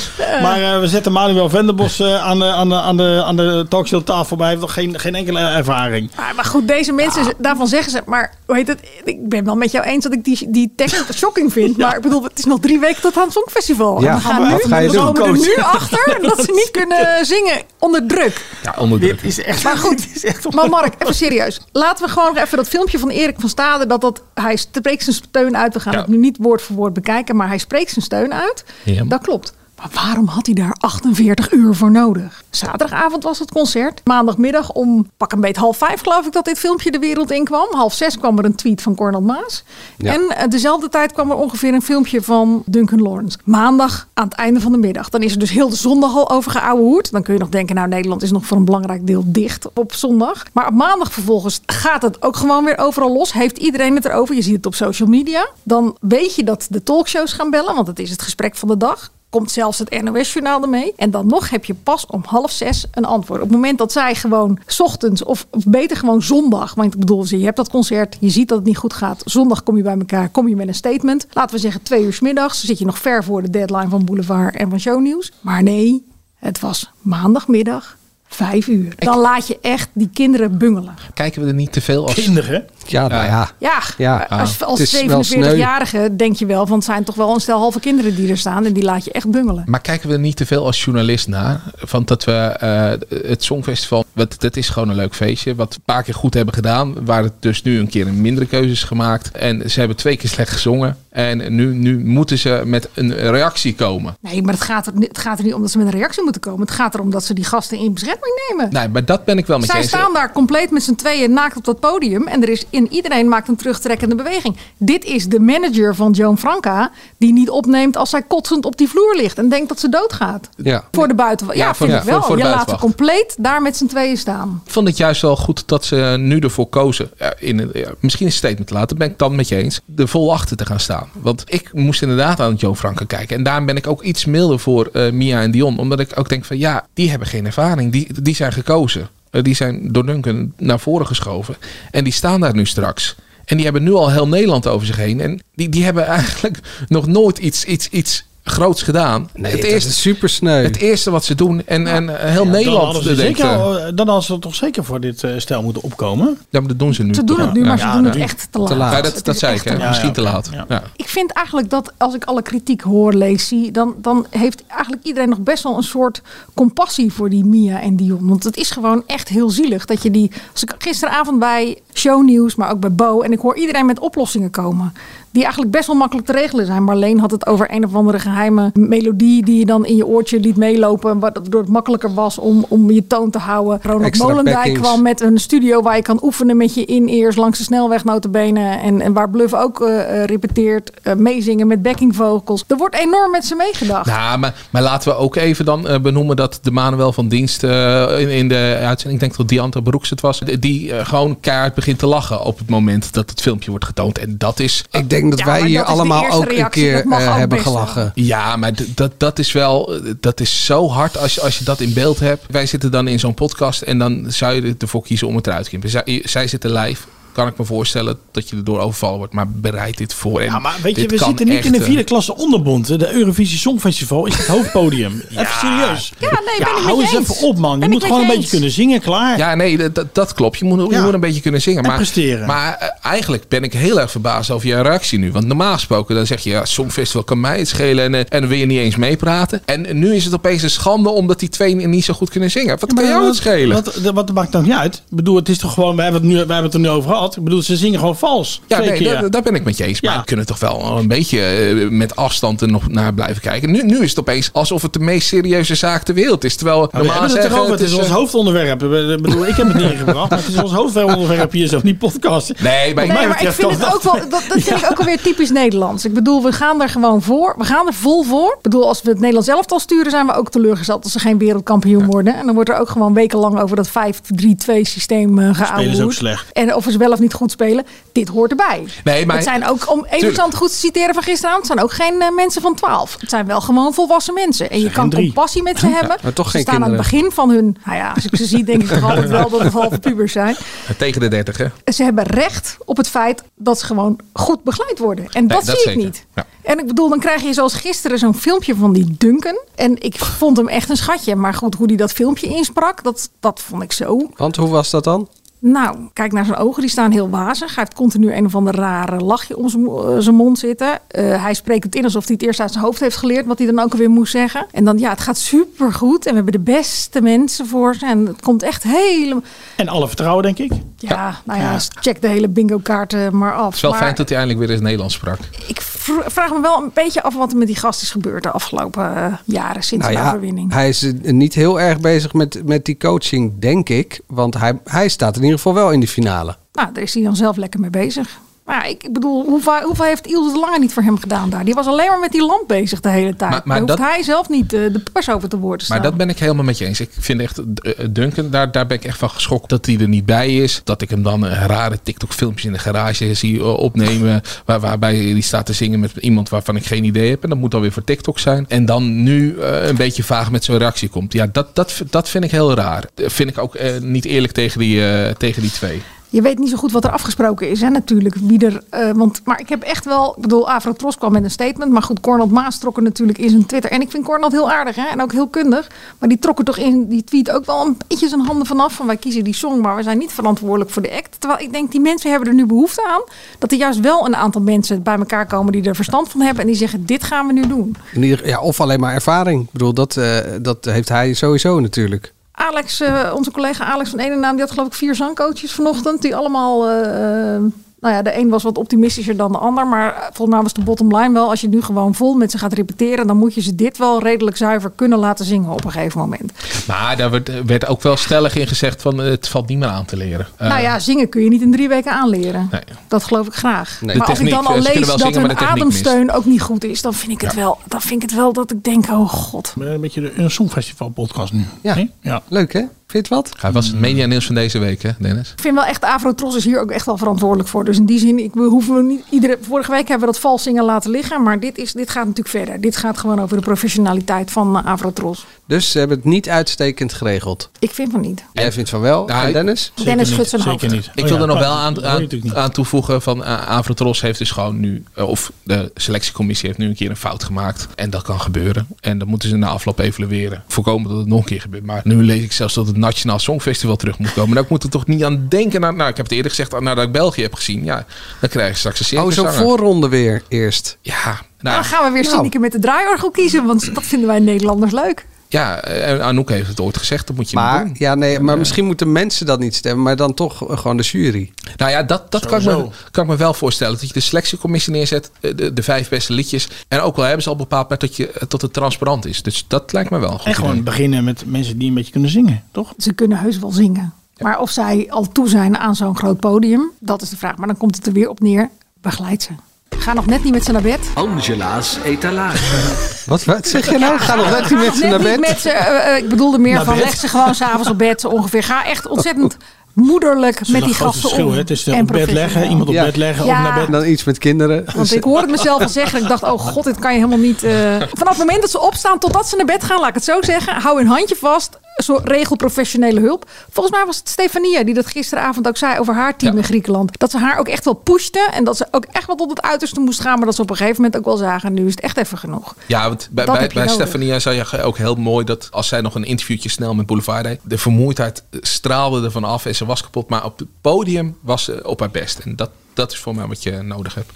Maar eh, we zetten Manuel Venderbos eh, aan, de, aan, de, aan, de, aan de talkshow tafel. Maar hij heeft nog geen, geen enkele ervaring.
Ah, Maar, maar goed, deze mensen, daarvan zeggen ze. Maar hoe heet het? Ik ben wel met jou eens dat ik die, die tekst shocking vind. Maar ik bedoel, het is nog drie weken tot aan het Songfestival.
Ja,
en we gaan
wat
nu,
ga je
we
doen,
komen er
coach?
nu achter dat ze niet kunnen zingen onder druk.
Ja, onder druk.
Dit is echt,
maar goed,
dit is echt
Maar Mark, even serieus. Laten we gewoon nog even dat filmpje van Erik van Stade. Dat dat, hij spreekt zijn steun uit. We gaan
Ja.
het nu niet woord voor woord bekijken. Maar hij spreekt zijn steun uit.
Ja.
Dat klopt. Maar waarom had hij daar 48 uur voor nodig? Zaterdagavond was het concert. Maandagmiddag om pak een beet half vijf geloof ik dat dit filmpje de wereld in kwam. Half zes kwam er een tweet van Cornel Maas.
Ja.
En eh, dezelfde tijd kwam er ongeveer een filmpje van Duncan Lawrence. Maandag aan het einde van de middag. Dan is er dus heel de zondag al over geouwehoerd. Dan kun je nog denken, nou Nederland is nog voor een belangrijk deel dicht op zondag. Maar op maandag vervolgens gaat het ook gewoon weer overal los. Heeft iedereen het erover. Je ziet het op social media. Dan weet je dat de talkshows gaan bellen, want het is het gesprek van de dag. Komt zelfs het NOS-journaal ermee. En dan nog heb je pas om half zes een antwoord. Op het moment dat zij gewoon 's ochtends, of of beter gewoon zondag. Want ik bedoel, je hebt dat concert, je ziet dat het niet goed gaat. Zondag kom je bij elkaar, kom je met een statement. Laten we zeggen twee uur 's middags. Zit je nog ver voor de deadline van Boulevard en van Shownieuws. Maar nee, het was maandagmiddag. Vijf uur. Dan laat je echt die kinderen bungelen.
Kijken we er niet te veel als...
Kinderen?
Ja, nou ja.
Ja, eh,
ah,
als,
Het
als
is wel sneu.
47-jarige denk je wel, want het zijn toch wel een stel halve kinderen die er staan en die laat je echt bungelen.
Maar kijken we er niet te veel als journalist naar? Want dat we eh, het Songfestival, wat, dat is gewoon een leuk feestje. Wat we een paar keer goed hebben gedaan. Waar het dus nu een keer een mindere keuze is gemaakt. En ze hebben twee keer slecht gezongen. En nu, nu moeten ze met een reactie komen.
Nee, maar het gaat, er, ni- het gaat er niet om dat ze met een reactie moeten komen. Het gaat erom dat ze die gasten in bescherming nemen.
Nee, Nou, maar dat ben ik wel met je
Zij
eens.
staan daar compleet met z'n tweeën naakt op dat podium. En er is in, iedereen maakt een terugtrekkende beweging. Dit is de manager van Joan Franca. Die niet opneemt als zij kotsend op die vloer ligt. En denkt dat ze doodgaat.
Ja.
Voor de buitenwacht. Ja,
Ja, voor-
vind
ja,
ik wel.
voor- voor de
Je laat er
buitenwacht.
compleet daar met z'n tweeën staan.
Ik vond het juist wel goed dat ze nu ervoor kozen. ja, in een, ja, misschien een statement te laten, ben ik dan met je eens. Er vol achter te gaan staan. Want ik moest inderdaad aan Joe Franken kijken. En daarom ben ik ook iets milder voor eh, Mia en Dion. Omdat ik ook denk van ja, die hebben geen ervaring. Die, die zijn gekozen. Eh, die zijn door Duncan naar voren geschoven. En die staan daar nu straks. En die hebben nu al heel Nederland over zich heen. En die, die hebben eigenlijk nog nooit iets, iets, iets groots gedaan.
Nee, het is super sneu.
Het eerste wat ze doen. En, en eh, heel
Ja, Dan
Nederland
hadden, ze
denkt,
zeker,
eh,
al- dan hadden ze toch zeker voor dit eh, stel moeten opkomen.
Ja, maar dat doen ze nu.
Ze doen
toch?
het nu, maar ze doen het
nu.
echt te laat.
Ja,
Het
dat, dat
is
zei ik,
echt
hè?
te laat.
misschien te laat. Ja,
Ik vind eigenlijk dat als ik alle kritiek hoor, lees, zie, dan, dan heeft eigenlijk iedereen nog best wel een soort compassie voor die Mia en Dion. Want het is gewoon echt heel zielig dat je die. Als ik gisteravond bij shownieuws, maar ook bij Bo, en ik hoor iedereen met oplossingen komen. Die eigenlijk best wel makkelijk te regelen zijn. Marleen had het over een of andere geheime melodie die je dan in je oortje liet meelopen. Waardoor het makkelijker was om, om je toon te houden. Ronald
Extra
Molendijk
packings.
kwam met een studio waar je kan oefenen met je in-ears langs de snelweg notabene. En, en waar Bluff ook eh, eh, repeteert. eh, meezingen met backing vocals. Er wordt enorm met ze meegedacht.
Nou, maar, maar laten we ook even dan eh, benoemen dat de Manuel van Dienst eh, in, in de uitzending, ik denk dat Dianta Broeks het was, die eh, gewoon keihard begint te lachen op het moment dat het filmpje wordt getoond. En dat is.
Ik denk dat wij hier allemaal ook een keer eh, hebben gelachen.
Ja, maar d- dat, dat is wel. eh, Dat is zo hard als, je- als je dat in beeld hebt. Wij zitten dan in zo'n podcast en dan zou je er- ervoor kiezen om het eruit te knippen. Zij, zij zitten live. Kan ik me voorstellen dat je erdoor overvallen wordt. Maar bereid dit eh, voor.
Ja, maar weet je, we zitten niet in de vierde klasse onderbond. hè. De Eurovisie Songfestival is het hoofdpodium. Even serieus.
Ja, nee, ben ik met
hou
je
eens
eens.
even op, man. Je
Ben ik
moet
met
gewoon
je
een beetje
eens.
kunnen zingen, klaar.
Ja, nee, dat- dat, dat klopt. Je moet, je
Ja.
moet een beetje kunnen zingen.
En
maar,
presteren.
Maar eh, eigenlijk ben ik heel erg verbaasd over je reactie nu. Want normaal gesproken dan zeg je, ja, Songfestival kan mij het schelen. En, eh, en dan wil je niet eens meepraten. En nu is het opeens een schande omdat die twee niet zo goed kunnen zingen. Wat kan jou het schelen?
Wat, wat, wat maakt dan niet uit? Ik bedoel, het is toch gewoon, we hebben het, nu, we hebben het er nu over gehad. Ik bedoel, ze zingen gewoon vals.
Ja,
Twee
nee,
keer.
daar, daar ben ik met je eens. Maar we kunnen toch wel een beetje eh, met afstand er nog naar blijven kijken. Nu, nu is het opeens alsof het de meest serieuze zaak ter wereld is. Terwijl
Oh, Maar we
normaal
hebben het
zeggen... eh,
erover. Het is ons hoofdonderwerp. Ik bedoel, ik heb het niet ingebracht, maar het is ons hoofdonderwerp hier zo, die podcast.
Nee,
Wat
Nee,
mij
maar ik
betreft
vind
kan
het ook wel, dat, dat vind ik ook alweer typisch Nederlands. Ik bedoel, we gaan er gewoon voor. We gaan er vol voor. Ik bedoel, als we het Nederlands elftal sturen, zijn we ook teleurgesteld als ze geen wereldkampioen worden. En dan wordt er ook gewoon wekenlang over dat 5-3-2 systeem eh geouwehoerd.
Spelen is ook slecht.
En of ze wel of niet goed spelen, dit hoort erbij.
Nee, maar-
Het zijn ook, om
Tuurlijk.
even goed te citeren van gisteravond, het zijn ook geen eh, mensen van 12. Het zijn wel gewoon volwassen mensen. En je kan
drie.
compassie met ze
Ja,
hebben.
maar toch
ze
geen
staan aan het
kinderen.
begin van hun, nou ja, als ik ze zie, denk ik toch altijd wel dat het halve pubers zijn
Tegen de dertig, hè?
ze hebben recht op het feit dat ze gewoon goed begeleid worden. En
Nee,
dat, zie
zeker.
ik niet.
Ja.
En ik bedoel, dan krijg je zoals gisteren zo'n filmpje van die Duncan. En ik vond hem echt een schatje. Maar goed, hoe die dat filmpje insprak, dat, dat vond ik zo.
Want hoe was dat dan?
Nou, kijk naar zijn ogen, die staan heel wazig. Hij heeft continu een of ander rare lachje om zijn mo- eh, zijn mond zitten. Eh, hij spreekt het in alsof hij het eerst uit zijn hoofd heeft geleerd, wat hij dan ook weer moest zeggen. En dan, ja, het gaat supergoed. En we hebben de beste mensen voor ze. En het komt echt helemaal...
En alle vertrouwen, denk ik.
Ja, nou ja, check de hele bingo kaarten maar af.
Het is wel
maar,
fijn dat hij eindelijk weer eens Nederlands sprak.
ik vr- vraag me wel een beetje af wat er met die gast is gebeurd de afgelopen eh, jaren sinds
Nou
de overwinning.
Nou hij is eh, niet heel erg bezig met, met die coaching, denk ik. Want hij, hij staat in ieder geval wel in de finale.
Nou, daar is hij dan zelf lekker mee bezig. Maar ik ik bedoel, hoeveel, hoeveel heeft Ilse de Lange niet voor hem gedaan daar? Die was alleen maar met die lamp bezig de hele tijd.
Maar- maar
daar hoeft
dat-
hij zelf niet eh, de pers over te woord te staan.
Maar dat ben ik helemaal met je eens. Ik vind echt, eh, Duncan, daar, daar ben ik echt van geschokt dat hij er niet bij is. Dat ik hem dan eh, rare TikTok-filmpjes in de garage zie eh, opnemen. Waar, waarbij hij staat te zingen met iemand waarvan ik geen idee heb. En dat moet dan weer voor TikTok zijn. En dan nu eh, een beetje vaag met zo'n reactie komt. Ja, dat, dat, dat vind ik heel raar. Dat vind ik ook eh, niet eerlijk tegen die, eh, tegen die twee.
Je weet niet zo goed wat er afgesproken is, hè, natuurlijk. Wie er, eh, want, maar ik heb echt wel... Ik bedoel, Avro Tros kwam met een statement. Maar goed, Cornald Maas trok er natuurlijk in zijn Twitter. En ik vind Cornald heel aardig hè, en ook heel kundig. Maar die trok er toch in die tweet ook wel een beetje zijn handen vanaf. Van wij kiezen die song, maar we zijn niet verantwoordelijk voor de act. Terwijl ik denk, die mensen hebben er nu behoefte aan. Dat er juist wel een aantal mensen bij elkaar komen die er verstand van hebben. En die zeggen, dit gaan we nu doen.
In ieder- ja, of alleen maar ervaring. Ik bedoel, dat, eh, dat heeft hij sowieso natuurlijk.
Alex, eh, onze collega Alex van Enenaam, die had geloof ik vier zangcoaches vanochtend. Die allemaal, eh, eh, nou ja, de een was wat optimistischer dan de ander. Maar eh, volgens mij was de bottom line wel, als je nu gewoon vol met ze gaat repeteren, dan moet je ze dit wel redelijk zuiver kunnen laten zingen op een gegeven moment.
Maar daar werd, werd ook wel stellig in gezegd van eh, het valt niet meer aan te leren. Eh,
nou ja, zingen kun je niet in drie weken aanleren.
Nee.
Dat geloof ik graag.
Nee.
maar
De
als ik
techniek,
dan
eh,
al
ze
lees
kunnen wel
dat
zingen,
een
maar de techniek mist.
ademsteun ook niet goed is, dan vind ik het,
Ja.
wel, dan vind ik het wel dat ik denk, oh god.
Een beetje de, een Songfestival podcast nu.
Ja.
ja.
Leuk hè? Vind je het wat?
Hij was het media nieuws van deze week, hè, Dennis?
Ik vind wel echt, Avrotros is hier ook echt wel verantwoordelijk voor. Dus in die zin, ik, we hoeven niet iedere. Vorige week hebben we dat vals zingen laten liggen. Maar dit, is, dit gaat natuurlijk verder. Dit gaat gewoon over de professionaliteit van eh, Avrotros.
Dus ze hebben het niet uitstekend geregeld.
Ik vind van niet.
Jij vindt van wel, en Nou, Dennis?
Zeker Dennis niet, schudt zijn zeker hoofd. niet.
Ik
Oh
wil
ja,
er nog
dat-
wel aan,
dat hoor je
aan,
natuurlijk
aan toevoegen van eh, Avrotros heeft dus gewoon nu, eh, of de selectiecommissie heeft nu een keer een fout gemaakt. En dat kan gebeuren. En dat moeten ze na afloop evalueren. Voorkomen dat het nog een keer gebeurt. Maar nu lees ik zelfs dat het Nationaal Songfestival terug moet komen. Nou, ik moet er toch niet aan denken. Nou, nou, ik heb het eerder gezegd, nadat ik België heb gezien. Ja, dan krijg je straks een
Oh, zo'n
circuszanger.
voorronde weer eerst.
Ja.
Dan
Nou,
gaan we weer
nou.
stiekem met de draaiorgel kiezen. Want dat vinden wij Nederlanders leuk.
Ja, en Anouk heeft het ooit gezegd, dat moet je niet
Maar,
doen.
ja, nee, maar misschien moeten mensen dat niet stemmen, maar dan toch eh, gewoon de jury.
Nou ja, dat, dat kan, ik me,
Sowieso.
kan ik me wel voorstellen. Dat je de selectiecommissie neerzet, eh, de, de vijf beste liedjes. En ook al hebben ze al bepaald maar dat, je, dat het transparant is. Dus dat lijkt me wel een goed
En gewoon
idee.
beginnen met mensen die een beetje kunnen zingen, toch?
Ze kunnen heus wel zingen. Maar of zij al toe zijn aan zo'n groot podium, dat is de vraag. Maar dan komt het er weer op neer. Begeleid ze. Ga nog net niet met ze naar bed.
Angela's etalage.
Wat, wat zeg je nou? Ga nog net niet
Ga
met
nog
ze naar
net
bed.
niet met ze, eh, eh, ik bedoelde meer
Naar
van
bed.
leg ze gewoon s'avonds op bed zo ongeveer. Ga echt ontzettend moederlijk
is
met
een
die
groot
gasten
verschil,
om.
hè? Het is de
En
op bed
professioneel.
leggen, iemand op bed leggen,
Ja.
of naar bed.
Dan iets met kinderen. Dus,
Want ik hoorde mezelf al zeggen. Ik dacht, oh god, dit kan je helemaal niet. eh. Vanaf het moment dat ze opstaan totdat ze naar bed gaan, laat ik het zo zeggen. Hou een handje vast. Zo regel professionele hulp. Volgens mij was het Stefania die dat gisteravond ook zei over haar team in Griekenland. Dat ze haar ook echt wel pushte. En dat ze ook echt wel tot het uiterste moest gaan. Maar dat ze op een gegeven moment ook wel zagen. Nu is het echt even genoeg.
Ja, want bij,
Dat
bij,
heb je
bij
nodig.
Stefania zei je ook heel mooi dat als zij nog een interviewtje snel met Boulevard deed. De vermoeidheid eh, straalde ervan af en ze was kapot. Maar op het podium was ze op haar best. En dat, dat is voor mij wat je nodig hebt.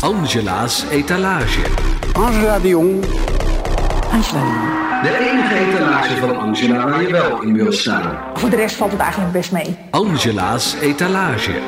Angela's etalage. Angela de Jong. Angela De enige etalage van Angela waar je wel in wil staan.
Voor de rest valt het eigenlijk best mee.
Angela's etalage.
eh,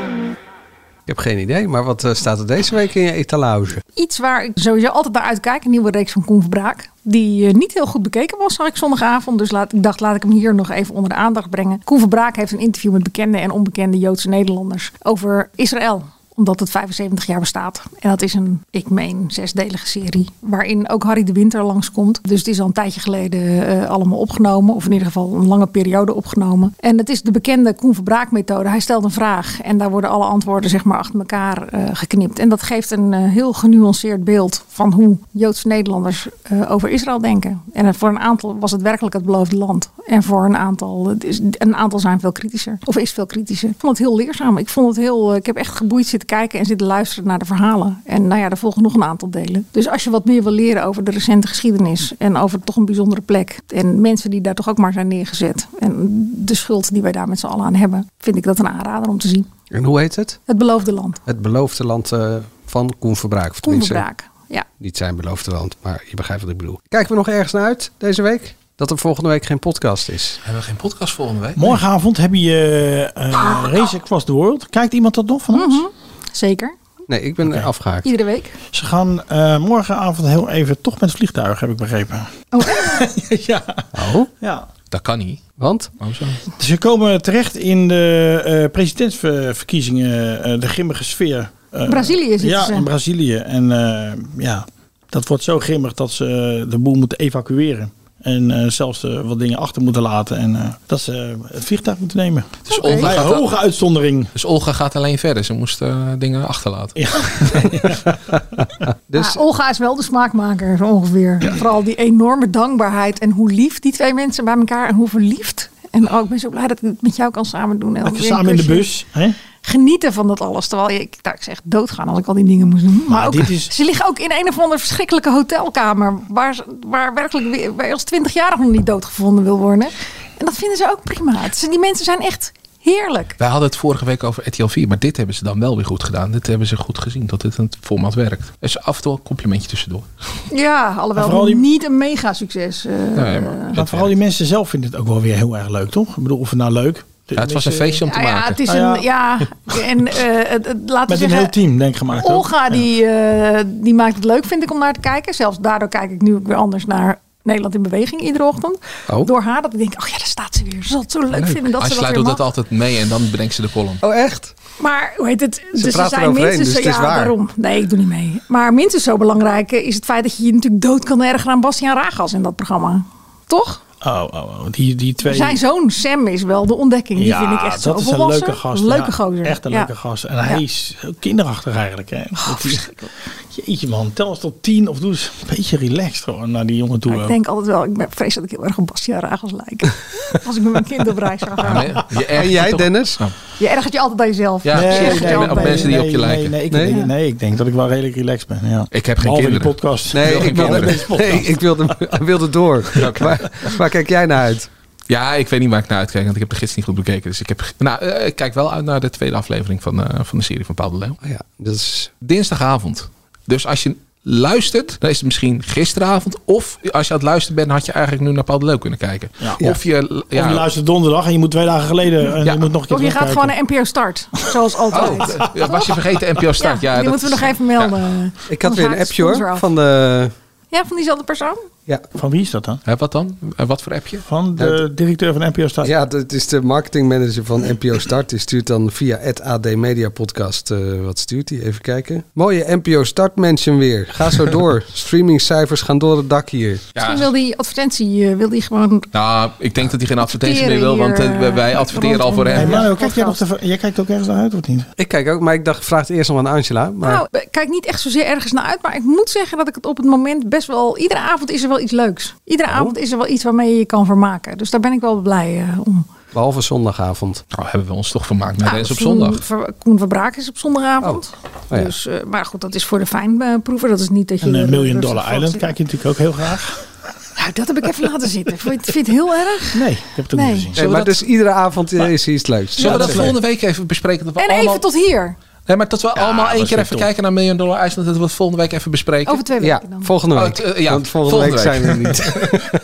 Ik heb geen idee, maar wat eh, staat er deze week in je etalage?
Iets waar ik sowieso altijd naar uitkijk. Een nieuwe reeks van Koen Verbraak. Die eh, niet heel goed bekeken was, zag ik zondagavond. Dus laat, ik dacht, laat ik hem hier nog even onder de aandacht brengen. Koen Verbraak heeft een interview met bekende en onbekende Joodse Nederlanders over Israël omdat het 75 jaar bestaat. En dat is een, ik meen, zesdelige serie. Waarin ook Harry de Winter langskomt. Dus het is al een tijdje geleden eh, allemaal opgenomen. Of in ieder geval een lange periode opgenomen. En het is de bekende Koen Verbraak methode. Hij stelt een vraag. En daar worden alle antwoorden zeg maar achter elkaar eh, geknipt. En dat geeft een eh, heel genuanceerd beeld van hoe Joodse Nederlanders eh, over Israël denken. En eh, voor een aantal was het werkelijk het beloofde land. En voor een aantal, het is, een aantal zijn veel kritischer. Of is veel kritischer. Ik vond het heel leerzaam. Ik vond het heel, eh, ik heb echt geboeid zitten kijken en zitten luisteren naar de verhalen. En nou ja, er volgen nog een aantal delen. Dus als je wat meer wil leren over de recente geschiedenis. En over toch een bijzondere plek. En mensen die daar toch ook maar zijn neergezet. En de schuld die wij daar met z'n allen aan hebben. Vind ik dat een aanrader om te zien.
En hoe heet het?
Het beloofde land.
Het beloofde land eh, van Koen Verbraak. Of
Koen
tenminste,
Verbraak. Ja.
Niet zijn beloofde land, maar je begrijpt wat ik bedoel. Kijken we nog ergens naar uit deze week? Dat er volgende week geen podcast is.
Hebben we geen podcast volgende week?
Morgenavond heb je eh
Ah.
Race Across the World. Kijkt iemand dat nog van ons?
Mhm. Zeker.
Nee, ik ben afgehaakt.
Iedere week.
Ze gaan eh, morgenavond heel even toch met vliegtuig, heb ik begrepen.
Oh?
Ja.
Dat kan niet.
Want?
Ze komen terecht in de eh, presidentsverkiezingen, eh, de grimmige sfeer. Eh,
Brazilië zitten
Ja,
ze.
in Brazilië. En eh, ja, dat wordt zo grimmig dat ze eh, de boel moeten evacueren. En eh, zelfs eh, wat dingen achter moeten laten. En eh, dat ze eh, het vliegtuig moeten nemen.
Dus Olga
Bij
gaat-
hoge uitzondering.
Dus Olga gaat alleen verder. Ze moest eh, dingen achterlaten.
dus
Maar Ah, Olga is wel de smaakmaker, zo ongeveer. Vooral die enorme dankbaarheid en hoe lief die twee mensen bij elkaar en hoe verliefd En oh, ik ben zo blij dat ik het met jou kan samen doen. Dus
Lekker samen in de bus. Hè?
Genieten van dat alles. Terwijl je- ik, nou, ik zeg doodgaan als ik al die dingen moest doen. Maar,
Maar
ook,
dit is-
ze liggen ook in een of andere verschrikkelijke hotelkamer. Waar, ze- waar werkelijk weer- waar je als 20-jarige nog niet doodgevonden wil worden. En dat vinden ze ook prima. Het zijn- die mensen zijn echt heerlijk.
Wij hadden het vorige week over RTL 4, maar dit hebben ze dan wel weer goed gedaan. Dit hebben ze goed gezien, dat dit een format werkt. Dus af en toe een complimentje tussendoor.
Ja,
Maar
alhoewel
vooral die-
niet een mega succes. eh,
Nee, maar-
Maar vooral die mensen zelf vinden het ook wel weer heel erg leuk, toch? Ik bedoel, of het nou leuk.
Ja, het was een feestje om te
Ah Ja,
maken.
ja, het is
Nou
een, ja, en eh, het, het- laten
Met
we
een
zeggen,
heel team, denk ik, gemaakt. ook.
Olga, die, eh, die maakt het leuk, vind ik, om naar te kijken. Zelfs daardoor kijk ik nu ook weer anders naar Nederland in Beweging iedere ochtend.
Oh.
Door haar, dat ik denk, oh ja, daar staat ze weer. Ze zal het zo leuk,
Leuk.
vinden dat
Hij
ze dat
sluit
weer
dat,
mag.
altijd mee en dan brengt ze de column.
Oh, echt?
Maar hoe heet het? dus er
praat
zijn
eroverheen,
minstens
dus
zo,
het is
ja,
waar.
daarom. Nee, ik doe niet mee. Maar minstens zo belangrijk eh, is het feit dat je je natuurlijk dood kan ergeren aan Bastiaan Ragas in dat programma. Toch?
Oh, oh, oh. Die, die twee.
Zijn zoon Sam is wel de ontdekking. Die
ja,
vind ik echt zo
dat is een
volwassen.
leuke gast.
Leuke
ja.
gozer.
Echt een
Ja.
leuke gast. En hij
Ja. Oh,
is heel kinderachtig eigenlijk. Hè? Dat hij- jeetje man, tel eens tot tien of doe eens een beetje relaxed gewoon naar die jongen toe.
Maar
eh,
ik denk altijd wel, ik ben vrees dat ik heel erg op Bastiaan Ragas lijk. Als ik met mijn kind op reis zou gaan.
en jij, Dennis?
Je ergert je altijd aan jezelf.
Ja,
Je
precies.
ergert je
Nee,
altijd
op
aan
mensen die
jezelf.
op je lijken.
Nee, ik,
Nee?
nee? Nee, ik denk dat ik wel redelijk relaxed ben. Ja.
Ik heb geen
Behalve
kinderen.
die podcast.
Ik wil
Nee,
geen
ik wilde,
kinderen.
nee, ik wilde, hij wilde door. Waar, waar kijk jij naar uit?
Ja, ik weet niet waar ik naar uitkijk, want ik heb de gids niet goed bekeken. Dus ik, heb, nou, eh, ik kijk wel uit naar de tweede aflevering van, eh, van de serie van Paul de Leeuw.
Ja, dus...
Dinsdagavond. Dus als je luistert, dan is het misschien gisteravond. Of als je aan het luisteren bent, had je eigenlijk nu naar Paul de Leeuw kunnen kijken.
Ja.
Of je...
Of je luistert donderdag en je moet twee dagen geleden en je moet nog een keer
Of je gaat
terugkijken.
gewoon naar NPO Start, zoals altijd.
Oh, ja, was je vergeten NPO Start? Ja,
die
dat
moeten we
is-
nog even melden.
Ik had
Dan
weer een
haakt
appje
de
hoor,
sponsor af.
van de...
Ja, van diezelfde persoon?
Ja.
Van wie is dat dan?
Hè, wat dan? Eh, Wat voor appje?
Van de directeur van NPO Start.
Ja, dat is de marketingmanager van NPO Start. Die stuurt dan via het AD Media Podcast. eh, wat stuurt hij? Even kijken. Mooie NPO Start mention weer. Ga zo door. Streamingcijfers gaan door het dak hier.
Misschien wil die advertentie eh, wil die gewoon...
Nou, ik denk dat hij geen advertentie meer
Adverteren
wil, want eh,
hier,
wij adverteren al voor
Hey,
hem.
Mario, kijk jij, nog te- jij kijkt ook ergens naar uit of niet? eh,
Ik kijk ook, maar ik dacht, ik vraag het eerst nog aan Angela. Maar
Nou, ik kijk niet echt zozeer ergens naar uit. Maar ik moet zeggen dat ik het op het moment best wel... Iedere avond is er wel iets leuks.
Oh.
Iedere avond is er wel iets waarmee je je kan vermaken. Dus daar ben ik wel blij eh, om.
behalve zondagavond.
Nou, hebben we ons toch vermaakt met
Nou,
deze op
Koen
zondag.
Ver- Koen Verbraak is op zondagavond.
oh ja.
dus, eh, maar goed, dat is voor de fijnproever. Dat is niet dat je...
En eh,
er
Million
rustig
Dollar
vast
Island
zit.
kijk je natuurlijk ook heel graag.
Nou, dat heb ik even laten zitten. Vond je het, vind je het heel erg?
Nee, ik heb het ook
Nee.
niet gezien.
Nee, maar dus iedere avond eh, is er iets leuks.
Zullen we dat
leuk.
volgende week even bespreken? Dat we
En
allemaal...
even tot hier.
Nee, maar dat we allemaal één
was
keer
weer
even
top.
kijken naar Million Dollar Island. Dat we het volgende week even bespreken.
Over twee
Ja,
weken dan.
volgende
Oh,
week.
het, eh, ja,
Want volgende, week,
volgende
zijn we niet.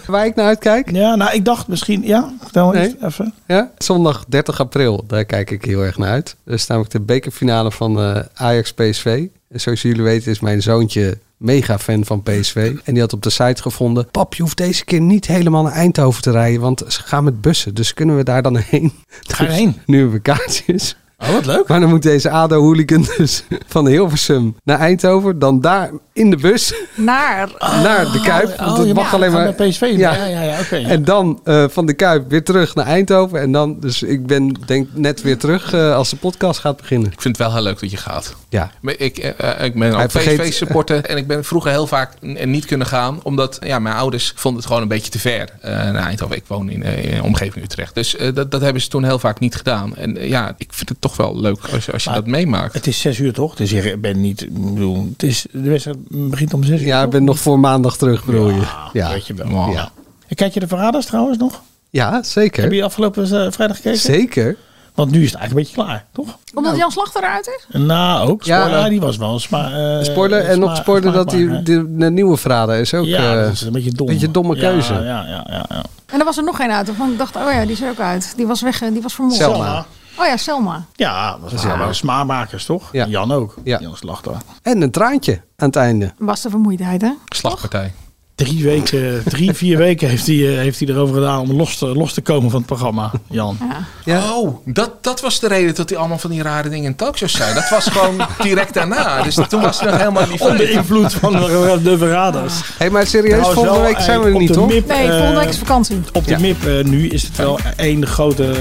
Waar ik naar uitkijk?
Ja, nou, ik dacht misschien... Ja, vertel
Nee.
eens even.
Ja? Zondag 30 april, daar kijk ik heel erg naar uit. Dat is namelijk de bekerfinale van eh, Ajax PSV. En zoals jullie weten is mijn zoontje mega fan van PSV. En die had op de site gevonden... Pap, je hoeft deze keer niet helemaal naar Eindhoven te rijden... want ze gaan met bussen, dus kunnen we daar dan heen?
Ga je heen?
Nu hebben we kaartjes.
Oh, wat leuk.
Maar dan moet deze ADO-hooligan dus van Hilversum naar Eindhoven... dan daar in de bus
Naar...
Oh,
naar de Kuip. Want
je
het mag
mag
alleen
gaan
maar...
naar PSV. Ja, ja, ja, oké.
En dan eh, van de Kuip weer terug naar Eindhoven. En dan, dus ik ben denk net weer terug eh, als de podcast gaat beginnen.
Ik vind het wel heel leuk dat je gaat.
Ja.
Maar Ik, eh, eh, ik ben
Hij
ook
vergeet-
PSV-supporter en ik ben vroeger heel vaak n- en niet kunnen gaan. Omdat ja, mijn ouders vonden het gewoon een beetje te ver eh, naar Eindhoven. Ik woon in, eh, in de omgeving Utrecht. Dus eh, dat, dat hebben ze toen heel vaak niet gedaan. En eh, ja, ik vind het toch wel leuk als, je- als je dat meemaakt.
Het is zes uur toch? Dus je bent niet... Ik bedoel, het is, de wedstrijd begint om zes uur.
Ja, ik ben nog voor maandag terug, bedoel je.
Ja,
Ja,
weet je wel.
Wow.
Ja. En kijk je de Verraders trouwens nog?
ja
Heb
zeker.
je afgelopen eh, vrijdag gekeken?
Zeker.
Want nu is het eigenlijk een beetje klaar, toch?
Omdat Jan Slachter eruit is?
Nou, ook.
Ja.
Spoiler, die was wel een sma, eh,
Spoiler en nog
sma-
spoiler dat die,
smaakmaker, hè?
die- de nieuwe Frada is ook
Ja,
eh,
dat is een beetje dom.
beetje domme
Ja,
keuze.
Ja, ja, ja. ja.
En er was er nog geen uit. Van ik dacht, oh ja, die is er ook uit. Die was weg, eh, die was vermoord.
Selma.
Oh ja, Selma.
Ja, dat waren wel smaakmakers, toch?
Ja.
Jan ook.
Ja.
Jan Slachter.
En een traantje aan het einde.
Was de vermoeidheid, hè?
Slagpartij.
Drie, weken, drie vier weken heeft hij, eh, heeft hij erover gedaan om los te, los te komen van het programma, Jan.
Oh, dat, dat was de reden dat hij allemaal van die rare dingen in talkshows zei. Dat was gewoon direct daarna. Dus toen was hij nog helemaal niet
Onder
van.
invloed van de, de verraders.
Hé, maar serieus,
Trouwens
dus volgende
wel,
week zijn
eh,
we er
op
niet,
de
hoor.
MIP,
Nee, volgende
eh,
week is vakantie.
Op de
Ja.
MIP eh, nu is het wel één grote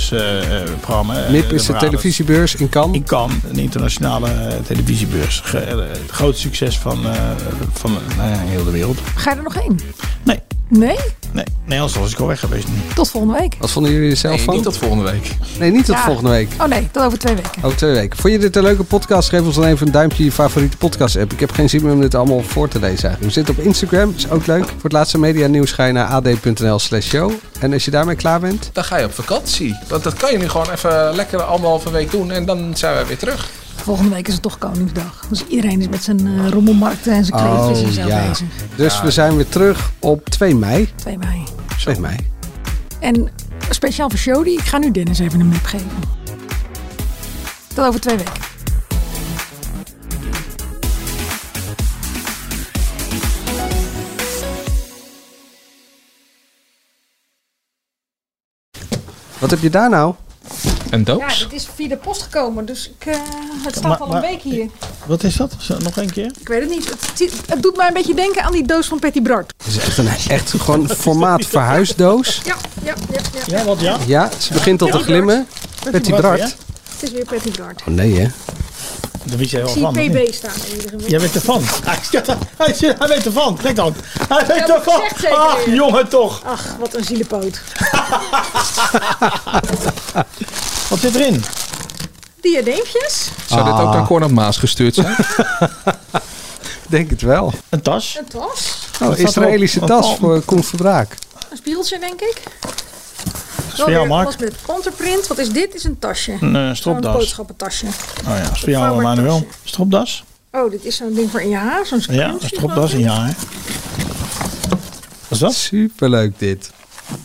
succesprogramma. eh,
MIP is de televisiebeurs in Cannes.
In Cannes, een internationale eh, televisiebeurs. Ge- eh, groot succes van, eh, van eh, nou ja, eh, heel de wereld.
Ga je er nog heen?
Nee.
Nee?
Nee, nee anders was ik al weg geweest. nu.
Tot volgende week.
Wat vonden jullie er zelf
Nee,
van?
niet tot
volgende week.
Nee, niet tot
Ja.
volgende week.
Oh nee, tot over twee weken.
Over Oh, twee weken. Vond je dit een leuke podcast? Geef ons dan even een duimpje in je favoriete podcast app. Ik heb geen zin meer om dit allemaal voor te lezen eigenlijk. We zitten op Instagram, is ook leuk. Voor het laatste media nieuws ga je naar ad.nl slash show. En als je daarmee klaar bent...
Dan ga je op vakantie. Want dat kan je nu gewoon even lekker anderhalve week doen en dan zijn we weer terug.
Volgende week is het toch Koningsdag. Dus iedereen is met zijn eh, rommelmarkten en zijn
Oh,
kleedjes en zo bezig.
Dus we zijn weer terug op 2 mei.
2 mei.
2 mei.
En speciaal voor Jody, ik ga nu Dennis even een map geven. Tot over twee weken.
Wat heb je daar nou?
Een
Ja, dit is via de post gekomen, dus ik, eh, het staat
Maar-
al een
maar-
week hier.
Wat is dat? Zo, Nog één keer?
Ik weet het niet. Het, ziet- het doet mij een beetje denken aan die doos van Petty Bart.
Het is echt, een, echt gewoon een formaat verhuisdoos.
Ja, ja, ja. Ja,
Ja, wat ja?
Ja, ze begint al te glimmen. Petty Bart.
Het is weer Petty Bart.
Oh nee hè.
Daar weet jij
Ik
wel
zie
van. of niet?
PB staan in ieder geval.
Jij weet ervan. Hij, hij, hij weet ervan. Kijk dan. Hij weet
Ja, maar
ervan.
gezegd zeker,
Ach,
ja.
jongen toch.
Ach, wat een zielepoot.
Wat zit erin?
Diadeempjes.
Zou dit
Ah.
ook naar Cor en Maas gestuurd zijn?
Denk het wel.
Een tas?
Een tas.
Oh, Israëlische tas voor Koen Verbraak.
Een spiegeltje, denk ik.
is voor jou, Mark.
Was met panterprint. Wat is dit? Is een tasje.
Een, eh,
Een
stropdas.
boodschappentasje.
Oh ja, is voor jou, Manuel. Stropdas?
Oh, dit is zo'n ding voor in je haar. Zo'n
Ja, een
scrunchie
stropdas in je haar. Wat is dat?
Superleuk dit.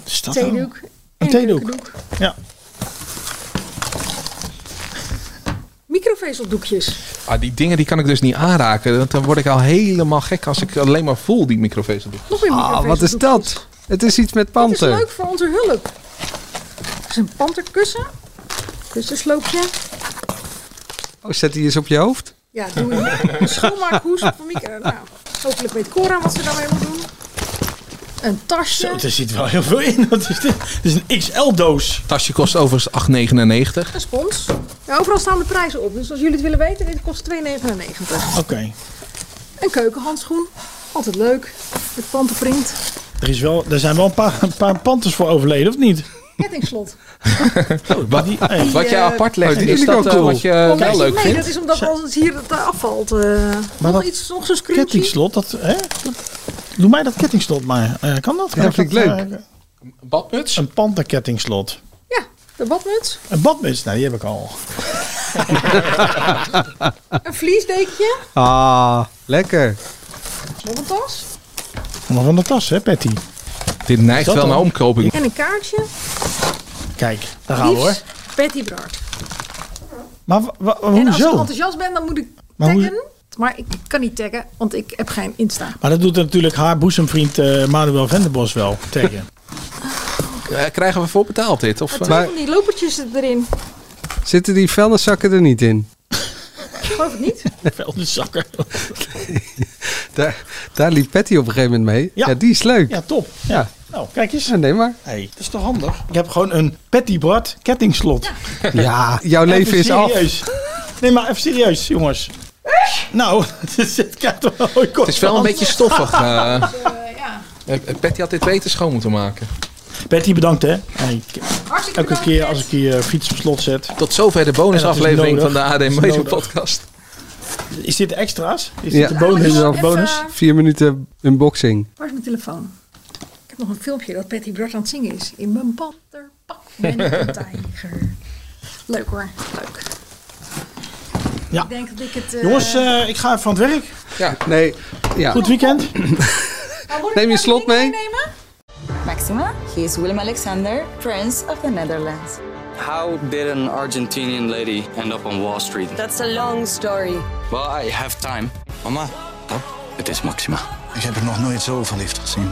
Is dat nou?
Theedoek.
Een theedoek. Ja.
Microvezeldoekjes.
Ah, die dingen die kan ik dus niet aanraken. Want Dan word ik al helemaal gek als ik alleen maar voel die microvezel.
Nog weer
Ah, wat is
microvezeldoekjes.
dat? Het is iets met
Dit is
panter.
leuk voor onze hulp. Het is een panterkussen. Kussensloopje.
Oh, zet die eens op je hoofd?
Ja, doe je. Een schoonmaakhoes voor Mieke. Nou, hopelijk weet Cora wat ze daarmee moet doen. Een tasje.
Zo, er zit wel heel veel in. Wat is dit? Het is een XL-doos.
Tasje kost overigens 8,99.
Een spons. Ja, overal staan de prijzen op. Dus als jullie het willen weten, dit kost 2,99.
Oké.
Een keukenhandschoen. Altijd leuk. Met pantenprint.
Er, is wel, er zijn wel een paar, een paar panters voor overleden, of niet?
Kettingslot.
Oh, Wat, die,
Die,
Wat jij
eh,
apart legt,
Oh, die
is
vind ik
dat
ook
eh,
cool.
wat je
Oh,
wel
nee,
leuk
Nee,
vindt?
dat is omdat alles hier het eh, afvalt. eh. nog
dat
iets, nog zo'n scrunchie.
Kettingslot, dat, hè? Dat- doe mij dat kettingslot maar. Eh, kan dat? Kan
Ja,
ik
vind ik leuk.
eh,
Badmuts?
Een panterkettingslot.
Ja, de badmuts.
Een badmuts, nou die heb ik al.
Ah.
Een vliesdekentje.
Ah, lekker.
Nog een tas.
Nog van de tas, hè, Patty?
Dit neigt
Dat
wel
dan?
naar omkoping.
En een kaartje.
Kijk, daar gaan we hoor.
Liefst Betty Brard.
Maar wa- wa-
En als ik
hoezo?
enthousiast ben, dan moet ik
Maar, hoe-
taggen. Maar ik kan niet taggen, want ik heb geen Insta.
maar dat doet natuurlijk haar boezemvriend eh, Manuel Venderbos wel tegen.
Eh, Krijgen we voor betaald dit? Of,
Twee
eh?
van die lopertjes erin.
Zitten die vuilniszakken er niet in?
Ik geloof het niet. Eh,
Veldenzakker.
Daar, daar liep Patty op een gegeven moment mee. Ja, die is leuk.
Ja, top. Ja.
Ja.
Nou, kijk eens.
nee, maar.
Hey, dat is toch handig? Ik heb gewoon een Patty Bart kettingslot.
Ja, jouw leven
Even
is af.
serieus. Nee, maar even serieus, jongens. Nou, dit kijkt toch wel
Het is wel een beetje stoffig. eh. Eh, eh, Patty had dit beter schoon moeten maken.
Patty, bedankt hè. Hey, ik-
Hartstikke
elke keer als ik hier eh, fiets op slot zet.
Tot zover de
En
bonusaflevering
dat
van
is
de
nodig.
AD
Dat is
Media
nodig.
Podcast.
Is dit extra's? Is
Ja.
dit de bonus? bonus?
Vier minuten unboxing.
Waar is mijn telefoon? Ik heb nog een filmpje dat Patty Brad aan het zingen is. In mijn panterpak ben ik een tijger. Leuk hoor, leuk.
Ja.
Ik denk dat ik het... eh,
Jongens, eh, ik ga even aan het werk.
Ja.
Nee, ja.
Goed weekend.
Neem je slot mee.
Maxima, he is Willem Alexander, Prince of the Netherlands.
How did an Argentinian lady end up on Wall Street?
That's a long story.
Well, I have time. Mama, it is Maxima.
Ik heb er nog nooit zoveel liefde gezien.